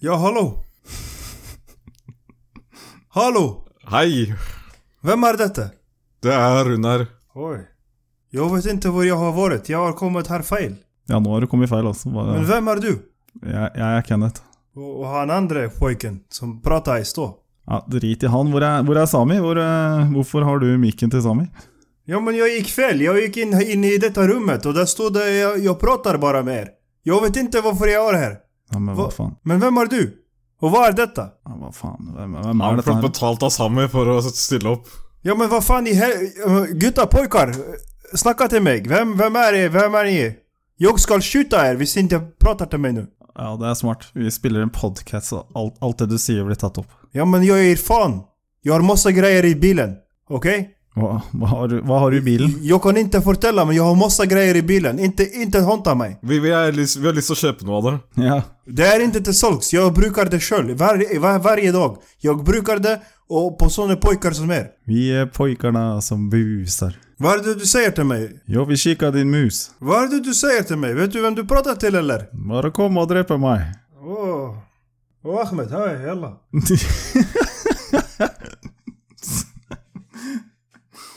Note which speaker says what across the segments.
Speaker 1: Ja, hallo. Hallo!
Speaker 2: Hei,
Speaker 1: Vem är detta?
Speaker 2: det er Runar.
Speaker 1: Oj. Jag vet inte var jag har varit. Jag har kommit här fel.
Speaker 3: Ja, nå har du kommet feil, altså. Hva-
Speaker 1: Men vem är du?
Speaker 3: Jeg, jeg er Kenneth.
Speaker 1: Och, och han andra pojken som pratar i stå.
Speaker 3: Ja, Drit i han. Hvor er, hvor er Sami? Hvor, eh, hvorfor har du mikken til Sami?
Speaker 1: Ja, men jag gick fel. Jag gick in, in i detta rummet och där stod det jag, jag pratar bara med er. Jeg vet inte varför jag är här.
Speaker 3: Ja, men hva
Speaker 1: Hva-
Speaker 3: faen?
Speaker 1: Men vem är du? Och vad är detta?
Speaker 3: Ja, hva faen? Hvem, hvem
Speaker 2: Han
Speaker 3: er dette
Speaker 2: ble
Speaker 3: her?
Speaker 2: betalt av Sami for å stille opp.
Speaker 1: Ja, men vad fan i hel... Gutta pojkar! Snacka till mig. Vem, vem är det? Vem är ni? Jag ska skjuta er, hvis inte pratar till mig nu.
Speaker 3: Ja, det er smart. Vi spiller en podkast, og alt, alt det du sier, blir tatt opp.
Speaker 1: Ja, men jag ger fan. Jag har massa grejer i bilen. Okej?
Speaker 3: Hva, hva, har, du, hva har du i bilen?
Speaker 1: Jag kan inte fortälla, men jag har massa grejer i bilen. Inte, inte håndta mig.
Speaker 2: Vi, vi, er, lyst- vi har lyst til å kjøpe noe av det.
Speaker 3: Ja,
Speaker 1: Det är inte till salgs. Jag brukar det själv. Varje, var, varje dag. Jag brukar det och på såna pojkar som er.
Speaker 3: Vi er pojkarna som busar.
Speaker 1: Vad är det du säger till mig?
Speaker 3: Jo, vi kikka din mus.
Speaker 1: Vad är det du säger till mig? Vet du vem du pratar till eller?
Speaker 3: Bare kom og drepe meg.
Speaker 1: Åh. Åh, Ahmed, hej, jalla.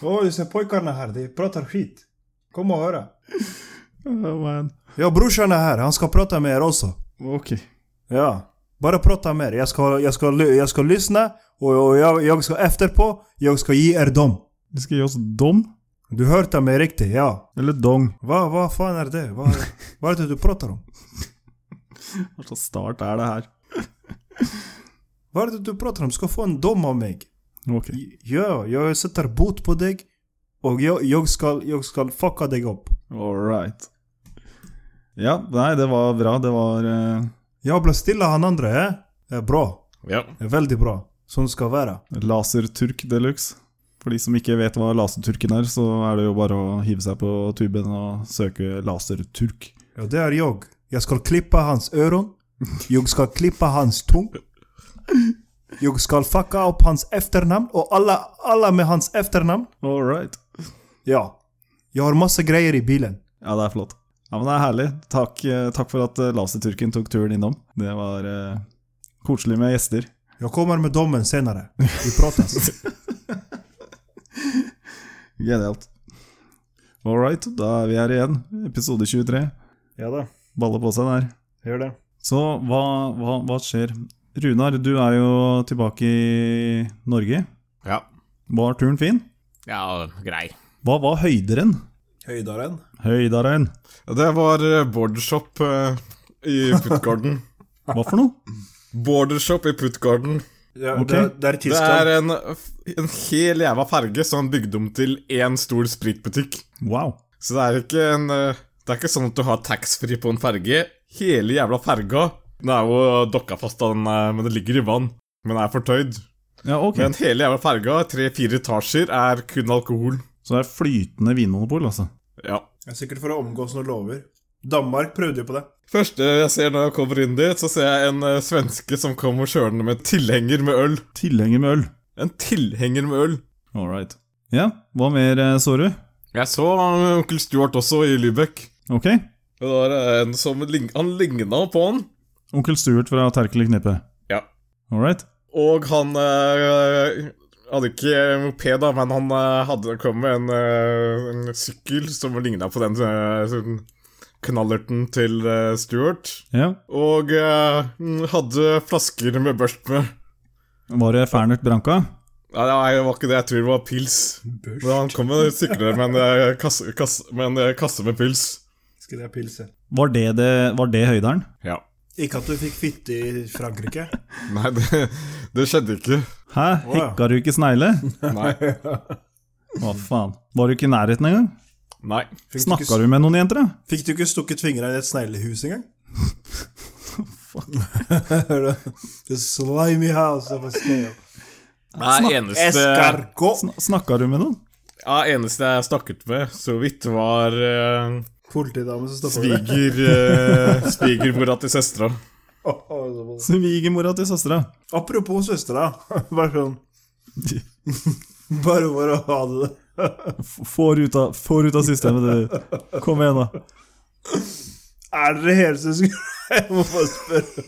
Speaker 1: Åh, oh, dessa pojkarna här, de pratar skit. Kom och höra.
Speaker 3: oh, man.
Speaker 1: Ja, brorsan är här. Han ska prata med er också.
Speaker 3: Ok.
Speaker 1: Ja. Bara prata med er. Jag ska, jag ska, ly- jag ska lyssna och, och jag, jag ska efterpå, jag ska ge er dem.
Speaker 3: Du skal gi oss dom
Speaker 1: Du hörde mig riktigt, ja.
Speaker 3: eller dong?
Speaker 1: Vad va fan är det? Va, vad är det du pratar om?
Speaker 3: Hva slags start er det her?
Speaker 1: Vad är det du pratar om? Du ska få en dom av mig.
Speaker 3: Ok.
Speaker 1: Ja, jag sätter bot på dig och jag, jag, ska, jag ska fucka dig upp.
Speaker 3: All right. Ja, nei, det var bra. Det var eh,
Speaker 1: Jag blir stilla han andra, eh? Det är bra.
Speaker 2: Ja.
Speaker 1: Det är väldigt bra. Sånn Som ska vara.
Speaker 3: laserturk deluxe. For de som ikke vet hva laserturken er, så er det jo bare å hive seg på tuben og søke laserturk.
Speaker 1: Ja, det är jag. Jag ska klippa hans öron. Jag ska klippa hans tung. Jag ska fucka upp hans efternamn och alla, alla med hans efternamn.
Speaker 3: All right.
Speaker 1: Ja. Jag har massa grejer i bilen.
Speaker 3: Ja, det er flott. Ja, men det er herlig. Takk, eh, takk for at eh, Laserturken tok turen innom. Det var eh, koselig med gjester.
Speaker 1: Jag kommer med domen senare. Vi pratar.
Speaker 3: Genialt. All right, da er vi her igjen. Episode 23.
Speaker 1: ja då,
Speaker 3: Balle på seg der.
Speaker 1: gör det.
Speaker 3: Så hva, hva, hva skjer? Runar, du er jo tilbake i Norge.
Speaker 2: Ja.
Speaker 3: Var turen fin?
Speaker 2: ja, grei.
Speaker 3: Hva var høyderen?
Speaker 1: Höjdaren.
Speaker 3: Høydaren.
Speaker 2: Det var eh, bordershop eh, i Puttgarden.
Speaker 3: Hva for noe?
Speaker 2: Bordershop i Puttgarden.
Speaker 1: Ja,
Speaker 3: Okej. det-
Speaker 1: är
Speaker 2: Det er eh, en, en hel jævla ferge som han bygde om til én stor spritbutikk.
Speaker 3: Wow.
Speaker 2: Så det er ikke en eh, Det er ikke sånn at du har taxfree på en ferge. Hele jævla ferga. Den er jo dokka fast av den, eh, men den ligger i vann. Men er fortøyd.
Speaker 3: Ja, ok.
Speaker 2: Men hele jævla ferga, tre-fire etasjer, er kun alkohol.
Speaker 3: Så det er flytende vinmonopol, altså.
Speaker 2: Ja.
Speaker 1: Jag är säkert för att omgås några lover. Danmark prövade ju på det.
Speaker 2: Første jeg ser når jeg kommer inn dit, så ser jeg en eh, svenske som kommer kjørende med en tilhenger med øl.
Speaker 3: Tilhenger med øl.
Speaker 2: En tilhenger med øl.
Speaker 3: All right. Ja, hva mer eh, så du?
Speaker 2: Jeg så eh, onkel Stuart også i Lübeck.
Speaker 3: Ok.
Speaker 2: Det var eh, en som lign- Han ligna på han.
Speaker 3: Onkel Stuart fra Terkel i Knippet.
Speaker 2: Ja.
Speaker 3: All right.
Speaker 2: Og han eh, hadde ikke moped, da, men han eh, hadde kommet en, eh, en sykkel som ligna på den eh, sånn knallerten til eh, Stuart.
Speaker 3: Ja.
Speaker 2: Og eh, hadde flasker med børst med.
Speaker 3: Var det Fernert Branca?
Speaker 2: Nei, nei, det var ikke det. Jeg tror det var pils. Men han kom med sykler med en eh, kasse, kasse, med, en, eh, kasse med pils.
Speaker 1: Skulle jag pilsa.
Speaker 3: Var det, det, var det høyderen?
Speaker 2: Ja.
Speaker 1: Ikke att du fick fitt i Frankrike.
Speaker 2: Nei, det, det skjedde ikke.
Speaker 3: Hæ?
Speaker 1: Å, ja.
Speaker 3: Hekka du ikke snegle?
Speaker 2: Nei.
Speaker 3: Hva faen? Var du ikke i nærheten engang?
Speaker 2: Nei.
Speaker 3: Snakka du med noen jenter, da?
Speaker 1: Fikk du ikke stukket fingrene i et sneglehus engang? The slimy house of a snail.
Speaker 2: Nei, eneste,
Speaker 1: Escargot.
Speaker 3: Sn- Snakka du med noen?
Speaker 2: ja, eneste jeg stakk ut med så vidt, var eh,
Speaker 1: Politidame som stopper deg.
Speaker 2: Sviger eh, Svigermora til søstera.
Speaker 1: Åh, åh, så
Speaker 3: Svigermora til søstera.
Speaker 1: bra. Apropos søstera. Bare sånn Bare for å ha det
Speaker 3: F- Får ut, av, får ut av systemet, du. Kom igjen, da.
Speaker 1: Er dere helsøsken? Jeg må bare spørre.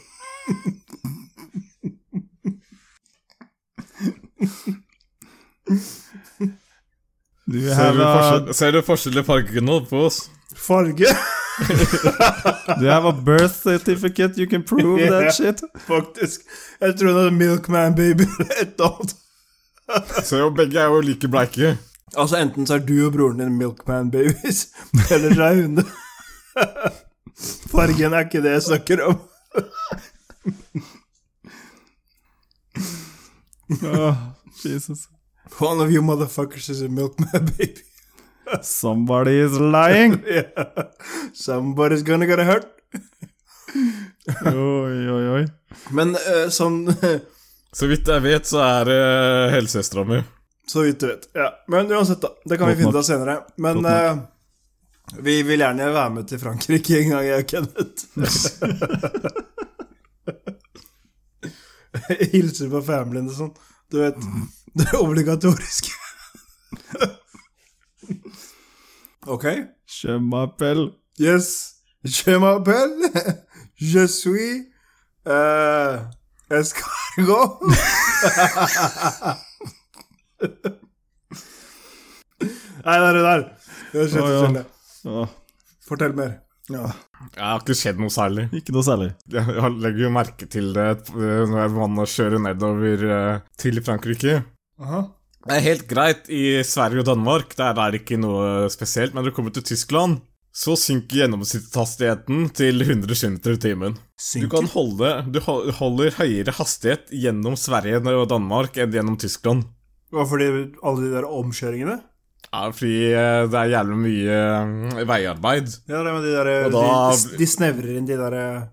Speaker 3: Do you
Speaker 2: Ser
Speaker 3: have
Speaker 2: du,
Speaker 3: a,
Speaker 2: forskjell, ser du forskjell i fargene på oss?
Speaker 1: Farge!
Speaker 3: do you have a birth certificate? You can prove
Speaker 1: Yeah.
Speaker 3: that shit.
Speaker 1: Faktisk. Jeg tror det er Milkman Baby eller et eller annet.
Speaker 2: Så jo, begge er jo like bleike.
Speaker 1: Altså, enten så er du og broren din Milkman Babies, eller så er hun det. Fargen er ikke det jeg snakker om.
Speaker 3: Oh, Jesus.
Speaker 1: One of you motherfuckers is a Milkman Baby.
Speaker 3: Somebody is lying.
Speaker 1: Yeah. Somebody's gonna get hurt.
Speaker 3: Oi, oi, oi.
Speaker 1: Men eh, sånn
Speaker 2: Så vidt jeg vet, så er det uh, helsesøstera mi.
Speaker 1: Så vidt du vet. Ja. Men uansett, da. Det kan
Speaker 3: Godt
Speaker 1: vi finne ut
Speaker 3: nok.
Speaker 1: av senere. Men
Speaker 3: Godt
Speaker 1: eh, vi vil gjerne være med til Frankrike en gang, jeg og Kenneth. Hilser på familien og sånn. Du vet. Det er obligatorisk. ok.
Speaker 3: Je m'appelle
Speaker 1: Yes. Je m'appelle. Je suis eh, escargot. Nei, det er det der. Det er slett,
Speaker 3: Å, ja.
Speaker 1: skjønner jeg.
Speaker 3: Åh,
Speaker 1: Fortell mer.
Speaker 2: Jeg har ikke skjedd noe særlig.
Speaker 3: Ikke noe særlig.
Speaker 2: Jeg jeg legger jo merke til det eh, når jeg vannet kjører nedover eh, til Frankrike.
Speaker 1: Aha.
Speaker 2: Det er helt greit i Sverige og Danmark, der er det ikke noe spesielt. Men når du kommer til Tyskland, så synker gjennomsnittshastigheten til 100 km i timen. Du kan holde Du hol- holder høyere hastighet gjennom Sverige og Danmark enn gjennom Tyskland.
Speaker 1: Hvorfor de, alle de der omkjøringene?
Speaker 2: Ja, fordi eh, det er jævlig mye eh, veiarbeid.
Speaker 1: Ja, det med de der eh,
Speaker 2: Og da-
Speaker 1: de, de snevrer inn de der eh,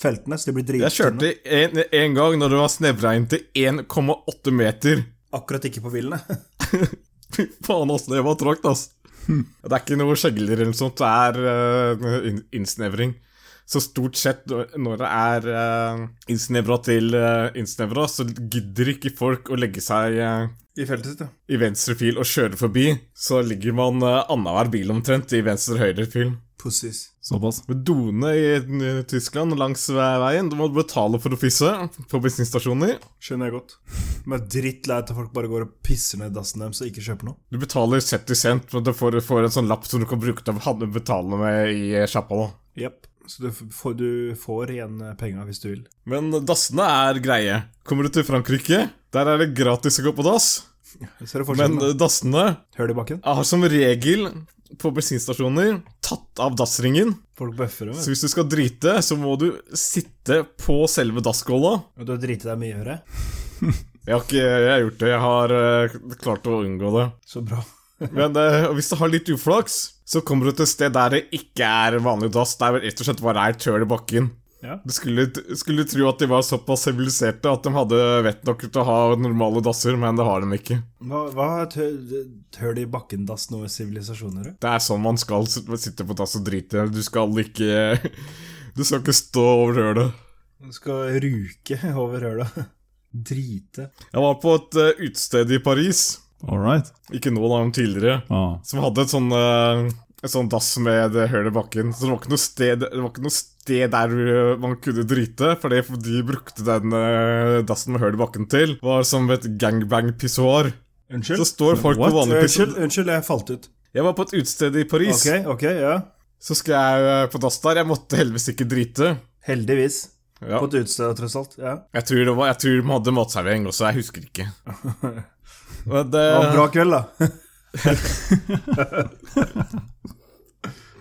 Speaker 1: feltene, så de blir
Speaker 2: Jeg kjørte
Speaker 1: drittynne.
Speaker 2: en, en gang når det var snevra inn til 1,8 meter.
Speaker 1: Akkurat ikke på bilene.
Speaker 2: Fy faen, ass, det var tråkt, ass. Det er ikke noe skjegler eller noe sånt, det er eh, inn- innsnevring. Så stort sett når når det er eh, innsnevra til eh, innsnevra, så gidder ikke folk å legge seg eh,
Speaker 1: I feltet sitt, ja.
Speaker 2: i venstre fil og kjøre forbi. Så ligger man uh, annenhver bil omtrent i venstre-høyre fil.
Speaker 1: Pussies.
Speaker 3: Såpass.
Speaker 2: Med doene i eh, Tyskland langs ve- veien, du må betale for å fisse på bensinstasjoner.
Speaker 1: Skjønner jeg godt. Men jeg er drittlei at folk bare går og pisser ned dassen deres og ikke kjøper noe.
Speaker 2: Du betaler 70 cent, men du får, får en sånn lapp som du kan bruke til å ha- betale med i eh, sjappa. da.
Speaker 1: Jepp. Så du f- får, du får igjen eh, penga hvis du vil.
Speaker 2: Men dassene er greie. Kommer du til Frankrike, der er det gratis å gå på dass.
Speaker 1: Jeg ser det
Speaker 2: Men
Speaker 1: fortsatt.
Speaker 2: eh, dassene
Speaker 1: Hør det i bakken?
Speaker 2: har som regel på bensinstasjoner tatt av dassringen.
Speaker 1: Folk bøffer det.
Speaker 2: Så
Speaker 1: vet
Speaker 2: hvis du skal drite, så må du sitte på selve dasskåla.
Speaker 1: Du Og du har driti deg mye, hører jeg.
Speaker 2: Jeg har ikke jeg har gjort det. Jeg har eh, klart å unngå det.
Speaker 1: Så bra.
Speaker 2: Men eh, hvis du har litt uflaks, så kommer du til et sted der det ikke er vanlig dass. Der rett og slett bare er tøl i bakken.
Speaker 1: Ja.
Speaker 2: Du skulle, skulle tro at de var såpass siviliserte at de hadde vett nok til å ha normale dasser, men det har de ikke.
Speaker 1: Hva, hva er tø- høl i bakken-dass nå i sivilisasjoner? du?
Speaker 2: Det er sånn man skal s- sitte på dass og drite. Du skal ikke Du skal ikke stå over hølet.
Speaker 1: Du skal ruke over høla. Drite.
Speaker 2: Jeg var på et eh, utested i Paris,
Speaker 3: All right.
Speaker 2: ikke nå, da, men tidligere,
Speaker 3: Ah.
Speaker 2: som hadde et sånn eh, Et sånn dass med det hølet i bakken. Så det var ikke noe sted, det var ikke noe sted der eh, man kunne drite, for det de brukte den eh, dassen med høl i bakken til, var som et gangbang-pissoar. Så
Speaker 1: Unnskyld?
Speaker 2: står folk
Speaker 3: What?
Speaker 2: på vanlig piss...
Speaker 1: Unnskyld, unnskyld, jeg falt ut.
Speaker 2: Jeg var på et utested i Paris,
Speaker 1: Eh, Ok, ok, ja.
Speaker 2: så skulle jeg eh, på dass der. Jeg måtte heldigvis ikke drite.
Speaker 1: Heldigvis.
Speaker 2: Ja.
Speaker 1: På et utested, tross alt. Ja.
Speaker 2: Jeg tror, det var, jeg tror de hadde matservering også, jeg husker ikke. Men eh, det,
Speaker 1: Det var en bra kveld, da.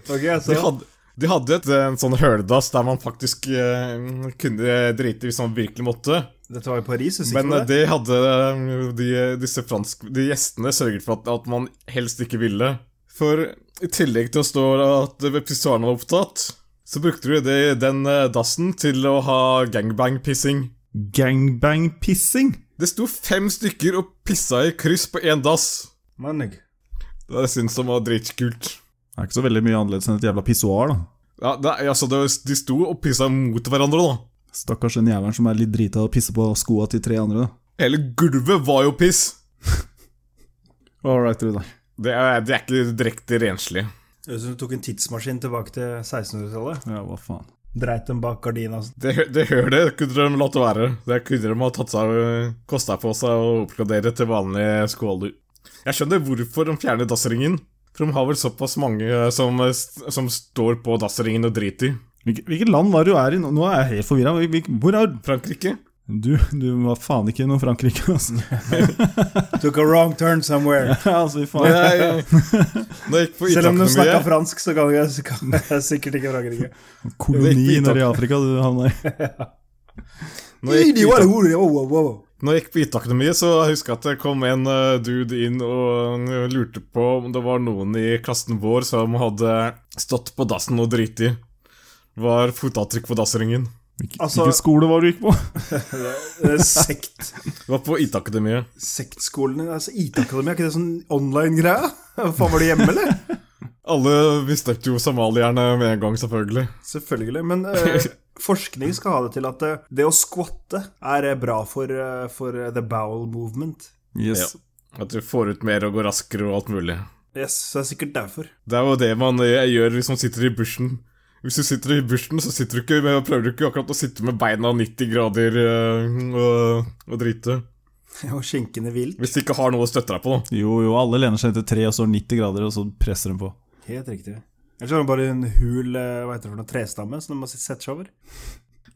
Speaker 1: ok,
Speaker 2: de,
Speaker 1: så
Speaker 2: hadde, de hadde et, en sånn høledass der man faktisk eh, kunne drite hvis man virkelig måtte.
Speaker 1: Dette var i Paris, husker
Speaker 2: Men
Speaker 1: du
Speaker 2: eh,
Speaker 1: det?
Speaker 2: det hadde eh, de, disse fransk, de gjestene sørget for at, at man helst ikke ville. For i tillegg til å stå at pissoarene var opptatt, så brukte du det, den eh, dassen til å ha gangbang-pissing.
Speaker 3: Gangbang-pissing.
Speaker 2: Det sto fem stykker og pissa i kryss på én dass.
Speaker 1: Mannig.
Speaker 2: Det syntes de var dritkult.
Speaker 3: Det er ikke så veldig mye annerledes enn et jævla pissoar, da.
Speaker 2: Ja, det, altså, det, De sto og pissa mot hverandre, da.
Speaker 3: Stakkars den jævelen som er litt drita og pisser på skoa til tre andre.
Speaker 2: Hele gulvet var jo piss.
Speaker 3: All right, Rudar.
Speaker 2: Det er, det er ikke direkte renslig.
Speaker 1: Høres ut som du tok en tidsmaskin tilbake til 1600-tallet.
Speaker 3: Ja, hva faen.
Speaker 1: Dreit dem bak gardina. og sånn.
Speaker 2: Det, hø- det hører det, kunne de latt det være. Det kunne de ha tatt seg kosta på seg å oppgradere til vanlige skåler. Jeg skjønner hvorfor de fjerner dassringen. For de har vel såpass mange eh, som, eh, st- som står på dassringen og driter i.
Speaker 3: Hvilket, hvilket land var du er i? nå? Nå er jeg helt forvirra. Hvor er
Speaker 2: Frankrike?
Speaker 3: du? Du var faen ikke noe Frankrike, altså.
Speaker 1: Took a wrong turn somewhere.
Speaker 3: altså fy faen.
Speaker 2: Jeg, når jeg gikk på
Speaker 1: Selv om de
Speaker 2: idrettsakademiet-
Speaker 1: snakker fransk, så kan jeg, så kan jeg sikkert ikke Frankrike.
Speaker 3: Koloni nede i Afrika du havna i.
Speaker 2: Når jeg gikk på idrett-
Speaker 1: Wow, wow, wow.
Speaker 2: Når jeg gikk på IT-akademiet, så husker jeg at det kom en eh, dude inn og eh, lurte på om det var noen i klassen vår som hadde stått på dassen og driti. Var fotavtrykk på dassringen.
Speaker 3: Hvilken,
Speaker 1: Altså-
Speaker 3: hvilken skole var du gikk på?
Speaker 1: Det er Sekt.
Speaker 2: Det var på IT-akademiet.
Speaker 1: Sektskolene altså IT-akademi, er ikke det sånn online-greie? Faen, var du hjemme, eller?
Speaker 2: Alle mistenkte jo somalierne med en gang, selvfølgelig.
Speaker 1: Selvfølgelig. Men eh, forskning skal ha det til at eh, det å skvatte er eh, bra for, eh, for eh, the bowel movement.
Speaker 3: Yes.
Speaker 2: At du får ut mer og går raskere og alt mulig.
Speaker 1: Yes, så det er sikkert derfor.
Speaker 2: Det er jo det man eh, gjør hvis man sitter i bushen. Hvis du sitter i bushen, så sitter du ikke, prøver du ikke akkurat å sitte med beina 90 grader eh, og, og drite.
Speaker 1: Og skjenkende vilt.
Speaker 2: Hvis du ikke har noe å støtte deg på, da.
Speaker 3: Jo, jo, alle lener seg til tre og står 90 grader, og så presser de på.
Speaker 1: Helt riktig. Ellers er det bare en hul eh, hva heter det for noe, trestamme som de må sette seg over.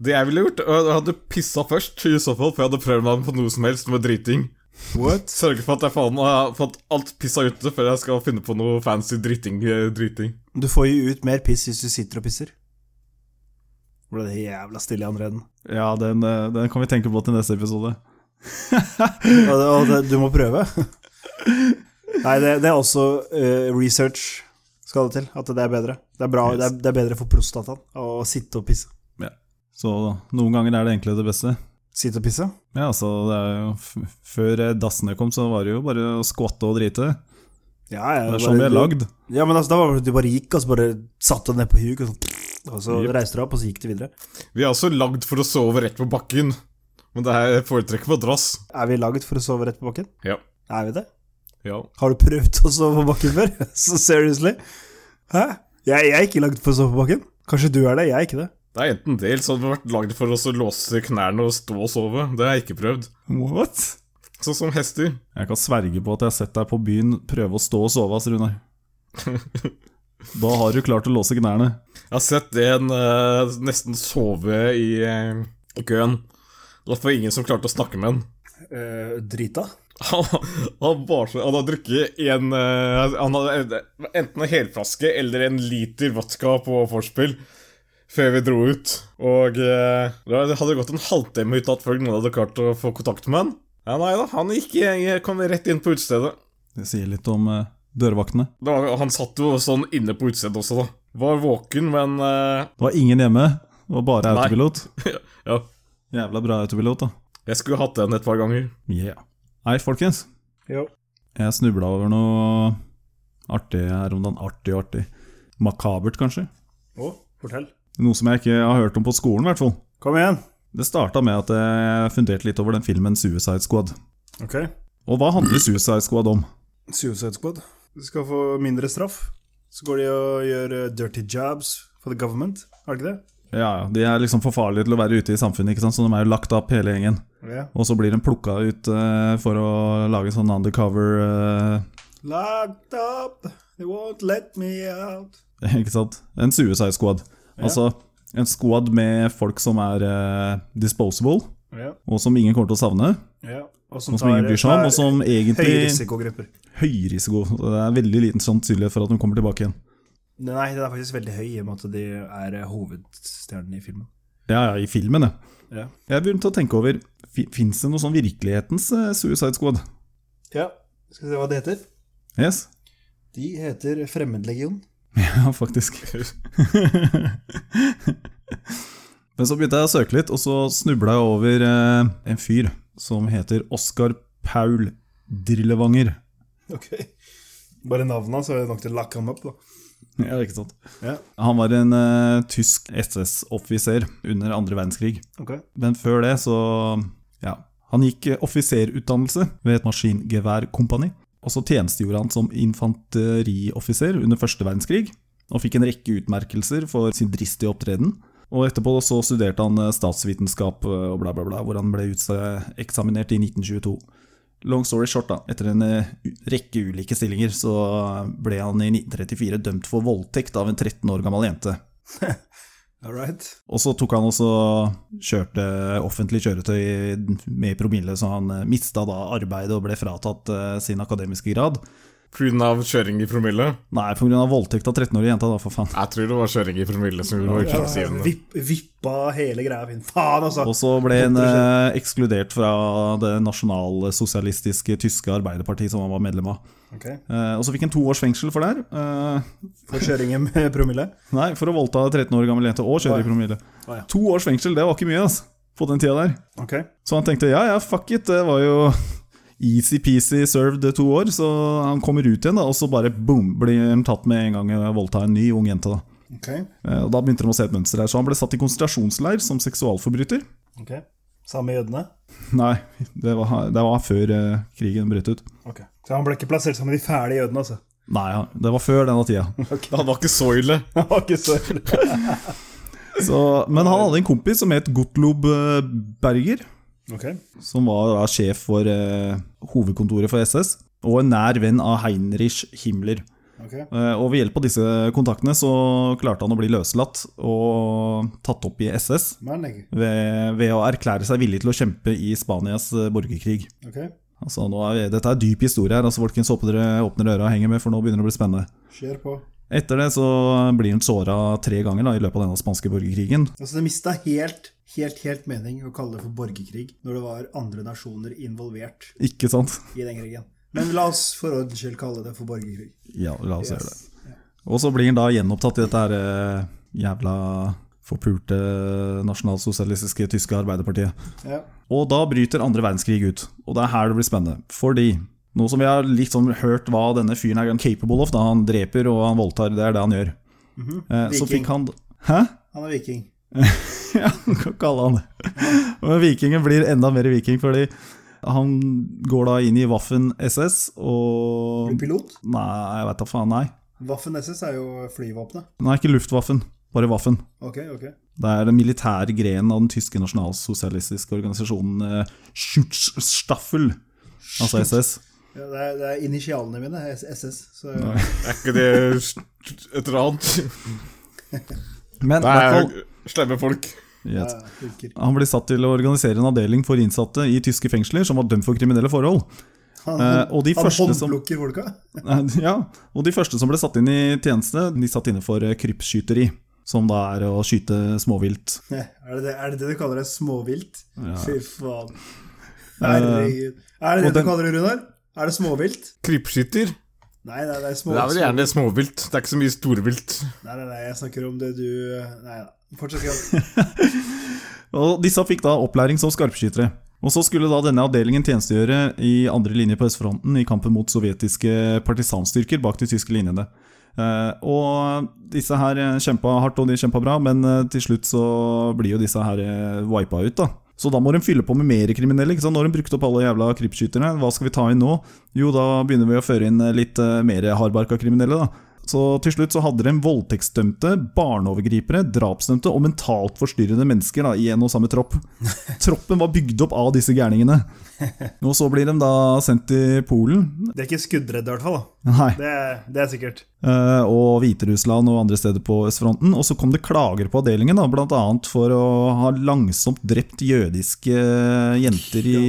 Speaker 2: Det jeg ville gjort, og jeg hadde pissa først, i så fall, for jeg hadde prøvd meg på noe som helst med driting.
Speaker 1: What?
Speaker 2: Sørge for at jeg faen har fått alt pissa ute før jeg skal finne på noe fancy driting. eh, driting.
Speaker 1: Du får jo ut mer piss hvis du sitter og pisser. Ble det jævla stille i andre enden.
Speaker 3: Ja, den, eh, den kan vi tenke på til neste episode.
Speaker 1: Og, det, og det, du må prøve. Nei, det, det er også eh, research skal det til. At det er bedre. Det er, bra, det er, det er bedre for prostataen å sitte og pisse.
Speaker 3: Så da, noen ganger er det enkle det beste.
Speaker 1: Sitte og pisse?
Speaker 3: Ja, altså, det er jo, f før eh, dassene kom, så var det jo bare å skvatte og drite.
Speaker 1: Ja, ja,
Speaker 3: Det
Speaker 1: bare-
Speaker 3: er sånn vi er lagd.
Speaker 1: Ja, men altså, da var det du bare gikk, og så bare satte du ned på huk, og, sånn, og så reiste du deg opp, og så gikk du videre.
Speaker 2: Vi er også lagd for å sove rett på bakken, men det her foretrekker madrass.
Speaker 1: Er vi laget for å sove rett på bakken?
Speaker 2: Ja.
Speaker 1: Er vi det?
Speaker 2: ja.
Speaker 1: Har du prøvd å sove på bakken før? Så seriously? Hæ? Jeg, jeg er ikke lagd for å sove på bakken. Kanskje du er det, jeg er ikke det.
Speaker 2: Det er enten det, eller så hadde vi vært lagd for oss å låse knærne og stå og sove. Det har jeg ikke prøvd.
Speaker 3: What?
Speaker 2: Sånn som hester.
Speaker 3: Jeg kan sverge på at jeg har sett deg på byen prøve å stå og sove, ass, Runar. Da har du klart å låse knærne.
Speaker 2: Jeg har sett en eh, nesten sove i, eh, i køen. Det var for ingen som klarte å snakke med en.
Speaker 1: drita?
Speaker 2: Han, han, var så, han hadde drukket en eh, Han hadde enten en helflaske eller en liter vodka på vorspiel før vi dro ut. Og eh, det hadde gått en halvtime uten at folk noen hadde klart å få kontakt med han. Ja, nei da, han gikk, jeg kom rett inn på utestedet.
Speaker 3: Det sier litt om eh, dørvaktene.
Speaker 2: Det var, han satt jo sånn inne på utestedet også, da. Var våken, men eh,
Speaker 3: Det var ingen hjemme, det var bare
Speaker 2: Nei.
Speaker 3: autopilot.
Speaker 2: ja.
Speaker 3: Jævla bra autopilot, da.
Speaker 2: Jeg skulle hatt den et par ganger.
Speaker 3: Yeah. Hei, folkens.
Speaker 1: Jo.
Speaker 3: Jeg snubla over noe artig her om dagen. Artig, artig. Makabert, kanskje?
Speaker 1: Å, fortell.
Speaker 3: Noe som jeg ikke har hørt om på skolen, i hvert fall.
Speaker 1: Kom igjen.
Speaker 3: Det starta med at jeg funderte litt over den filmen Suicide Squad.
Speaker 1: Ok.
Speaker 3: Og hva handler Suicide Squad om?
Speaker 1: Suicide Squad. Du skal få mindre straff. Så går de og gjør eh, dirty jobs for the government, er det ikke det?
Speaker 3: Ja, ja, De er liksom for farlige til å være ute i samfunnet, ikke sant? så de er jo lagt opp hele gjengen.
Speaker 1: Ja.
Speaker 3: Og så blir de plukka ut eh, for å lage sånn undercover eh,
Speaker 1: Locked up, they won't let me out.
Speaker 3: Ikke sant? En Suicide Squad. Altså en squad med folk som er eh, disposable,
Speaker 1: Ja,
Speaker 3: og som ingen kommer til å savne.
Speaker 1: ja. Og
Speaker 3: Og som ingen bryr seg om, og som egentlig
Speaker 1: Høye risikogrupper.
Speaker 3: Høyrisiko. Det er veldig liten sannsynlighet for at de kommer tilbake igjen.
Speaker 1: Nei, den er faktisk veldig høy i og med at de er eh, hovedstjernen i filmen.
Speaker 3: Ja, ja, i filmen, ja.
Speaker 1: Ja.
Speaker 3: Jeg begynte å tenke over Fins det noe sånn virkelighetens eh, Suicide Squad?
Speaker 1: Ja, skal vi se hva det heter.
Speaker 3: Yes?
Speaker 1: De heter Fremmedlegion.
Speaker 3: Ja, faktisk. Men så begynte jeg å søke litt, og så snubla jeg over eh, en fyr som heter Oskar Paul Drillevanger.
Speaker 1: Ok. Bare navnet, så er det nok til å lock ham up, da.
Speaker 3: Ja, ikke sant?
Speaker 1: Ja.
Speaker 3: Han var en eh, tysk SS-offiser under andre verdenskrig.
Speaker 1: Ok.
Speaker 3: Men før det så Ja. Han gikk eh, offiserutdannelse ved et maskingeværkompani. Og så tjenestegjorde han som infanterioffiser under første verdenskrig. Og fikk en rekke utmerkelser for sin dristige opptreden. Og etterpå så studerte han eh, statsvitenskap eh, og bla, bla, bla, hvor han ble uteksaminert i 1922. Long story short, da. Etter en eh, u- rekke ulike stillinger så eh, ble han i 1934 dømt for voldtekt av en 13 år gammel jente.
Speaker 1: All right.
Speaker 3: Og så tok han også kjørte offentlig kjøretøy med promille, så han eh, mista da arbeidet og ble fratatt eh, sin akademiske grad.
Speaker 2: Pga. kjøring i promille?
Speaker 3: Nei, pga. voldtekt av 13-årige jenta, da, for faen.
Speaker 2: Jeg tror det var kjøring i promille som var utslagsgivende.
Speaker 1: Vipp, vippa hele greia min. Faen, altså!
Speaker 3: Og så ble han eh, ekskludert fra det nasjonalsosialistiske tyske arbeiderpartiet som han var medlem av.
Speaker 1: Ok.
Speaker 3: Eh, Og så fikk han to års fengsel for det her. Eh,
Speaker 1: For kjøringen med promille?
Speaker 3: Nei, for å voldta en 13 år gammel jente og kjøre i promille.
Speaker 1: Å, ja.
Speaker 3: To års fengsel, det var ikke mye, altså. På den tida der.
Speaker 1: Ok.
Speaker 3: Så han tenkte ja, ja, fuck it, det var jo easy-peasy served to år. Så han kommer ut igjen, da, og så bare boom, blir han tatt med en gang og voldta en ny ung jente. da.
Speaker 1: Ok.
Speaker 3: Eh, Og da begynte de å se et mønster her. Så han ble satt i konsentrasjonsleir som seksualforbryter.
Speaker 1: ok. Samme jødene?
Speaker 3: Nei, det var, det var før eh, krigen brøt ut.
Speaker 1: Ok. Så han ble ikke plassert sammen med de fæle jødene, altså?
Speaker 3: Nei, ja, det var før denne tida.
Speaker 2: Han var ikke så ille.
Speaker 1: Han var ikke så ille.
Speaker 3: Så, men han hadde en kompis som het Gottlob eh, Berger.
Speaker 1: Ok.
Speaker 3: som var da sjef for eh, hovedkontoret for SS, og en nær venn av Heinrich Himmler.
Speaker 1: ok.
Speaker 3: Eh, og ved hjelp av disse kontaktene så klarte han å bli løslatt og tatt opp i SS
Speaker 1: Men jeg.
Speaker 3: ved, ved å erklære seg villig til å kjempe i Spanias eh, borgerkrig.
Speaker 1: Ok.
Speaker 3: Altså, nå er, vi- dette er dyp historie her, altså, folkens. Håper dere åpner øra og henger med, for nå begynner det å bli spennende.
Speaker 1: Kjør på.
Speaker 3: Etter det så blir han såra tre ganger da, i løpet av denne spanske borgerkrigen.
Speaker 1: Altså, det mista helt, helt, helt mening å kalle det for borgerkrig når det var andre nasjoner involvert
Speaker 3: Ikke sant?
Speaker 1: i den krigen. Men la oss for ordens skyld kalle det for borgerkrig.
Speaker 3: Ja, la oss gjøre det.
Speaker 1: Yes.
Speaker 3: Og så blir han da gjenopptatt i dette her eh, jævla forpulte nasjonalsosialistiske tyske arbeiderpartiet.
Speaker 1: Ja.
Speaker 3: Og da bryter andre verdenskrig ut. Og det er her det blir spennende. Fordi nå som vi har litt sånn hørt hva denne fyren er capable of, da han dreper og han voldtar, det er det han gjør. eh, så
Speaker 1: Mhm. Viking.
Speaker 3: fikk han Hæ?
Speaker 1: Han er viking.
Speaker 3: Ja, du kan kalle han det. Men vikingen blir enda mer viking, fordi han går da inn i Waffen SS og
Speaker 1: Blir pilot.
Speaker 3: Nei, jeg veit da faen, nei.
Speaker 1: Waffen SS er jo flyvåpenet.
Speaker 3: Nei, ikke Luftwaffen, bare Waffen.
Speaker 1: Ok, ok.
Speaker 3: Det er den militære grenen av den tyske nasjonalsosialistiske organisasjonen eh, Schutzstaffel, altså SS.
Speaker 1: Ja, det, er, det er initialene mine, S- SS. Så
Speaker 2: Er ikke det et eller annet?
Speaker 3: Men
Speaker 2: Det
Speaker 3: i
Speaker 2: er
Speaker 3: hvert fall-
Speaker 2: slemme folk.
Speaker 1: ja,
Speaker 3: Yes.
Speaker 1: det funker.
Speaker 3: Han ble satt til å organisere en avdeling for innsatte i tyske fengsler som var dømt for kriminelle forhold.
Speaker 1: Han,
Speaker 3: Eh, og de
Speaker 1: han
Speaker 3: første som-
Speaker 1: håndplukker folka.
Speaker 3: Eh, Ja, og de første som ble satt inn i tjeneste, de satt inne for eh, krypskyteri. Som da er å skyte småvilt.
Speaker 1: Ja, Er det det, er det det du kaller det? Småvilt? Fy faen.
Speaker 3: Eh,
Speaker 1: Herregud. Er det det
Speaker 3: og den-
Speaker 1: du kaller det, Runar? Er det småvilt?
Speaker 2: Krypskytter?
Speaker 1: Nei, nei, det er små...
Speaker 2: Det er vel gjerne småvilt. Det er ikke så mye storvilt.
Speaker 1: Nei, nei, nei, jeg snakker om det du Nei da. Fortsett. Jan.
Speaker 3: Og disse fikk da opplæring som skarpskyttere. Og så skulle da denne avdelingen tjenestegjøre i andre linje på østfronten i kampen mot sovjetiske partisanstyrker bak de tyske linjene. Eh, og disse her eh, kjempa hardt, og de kjempa bra, men eh, til slutt så blir jo disse her eh, wipa ut, da. Så da må de fylle på med mer kriminelle. ikke sant? Når de brukte opp alle jævla krypskytterne, hva skal vi ta inn nå? Jo, da begynner vi å føre inn eh, litt eh, mer hardbarka kriminelle, da. Så til slutt så hadde de voldtektsdømte, barneovergripere, drapsdømte og mentalt forstyrrede mennesker da, i en og samme tropp. Troppen var bygd opp av disse gærningene. Og så blir de da sendt til Polen
Speaker 1: Det er ikke skuddredd, i hvert fall. da.
Speaker 3: Nei,
Speaker 1: Det, er- det er sikkert.
Speaker 3: eh, og Hviterussland og andre steder på østfronten. Og så kom det klager på avdelingen, da, bl.a. for å ha langsomt drept jødiske eh, jenter i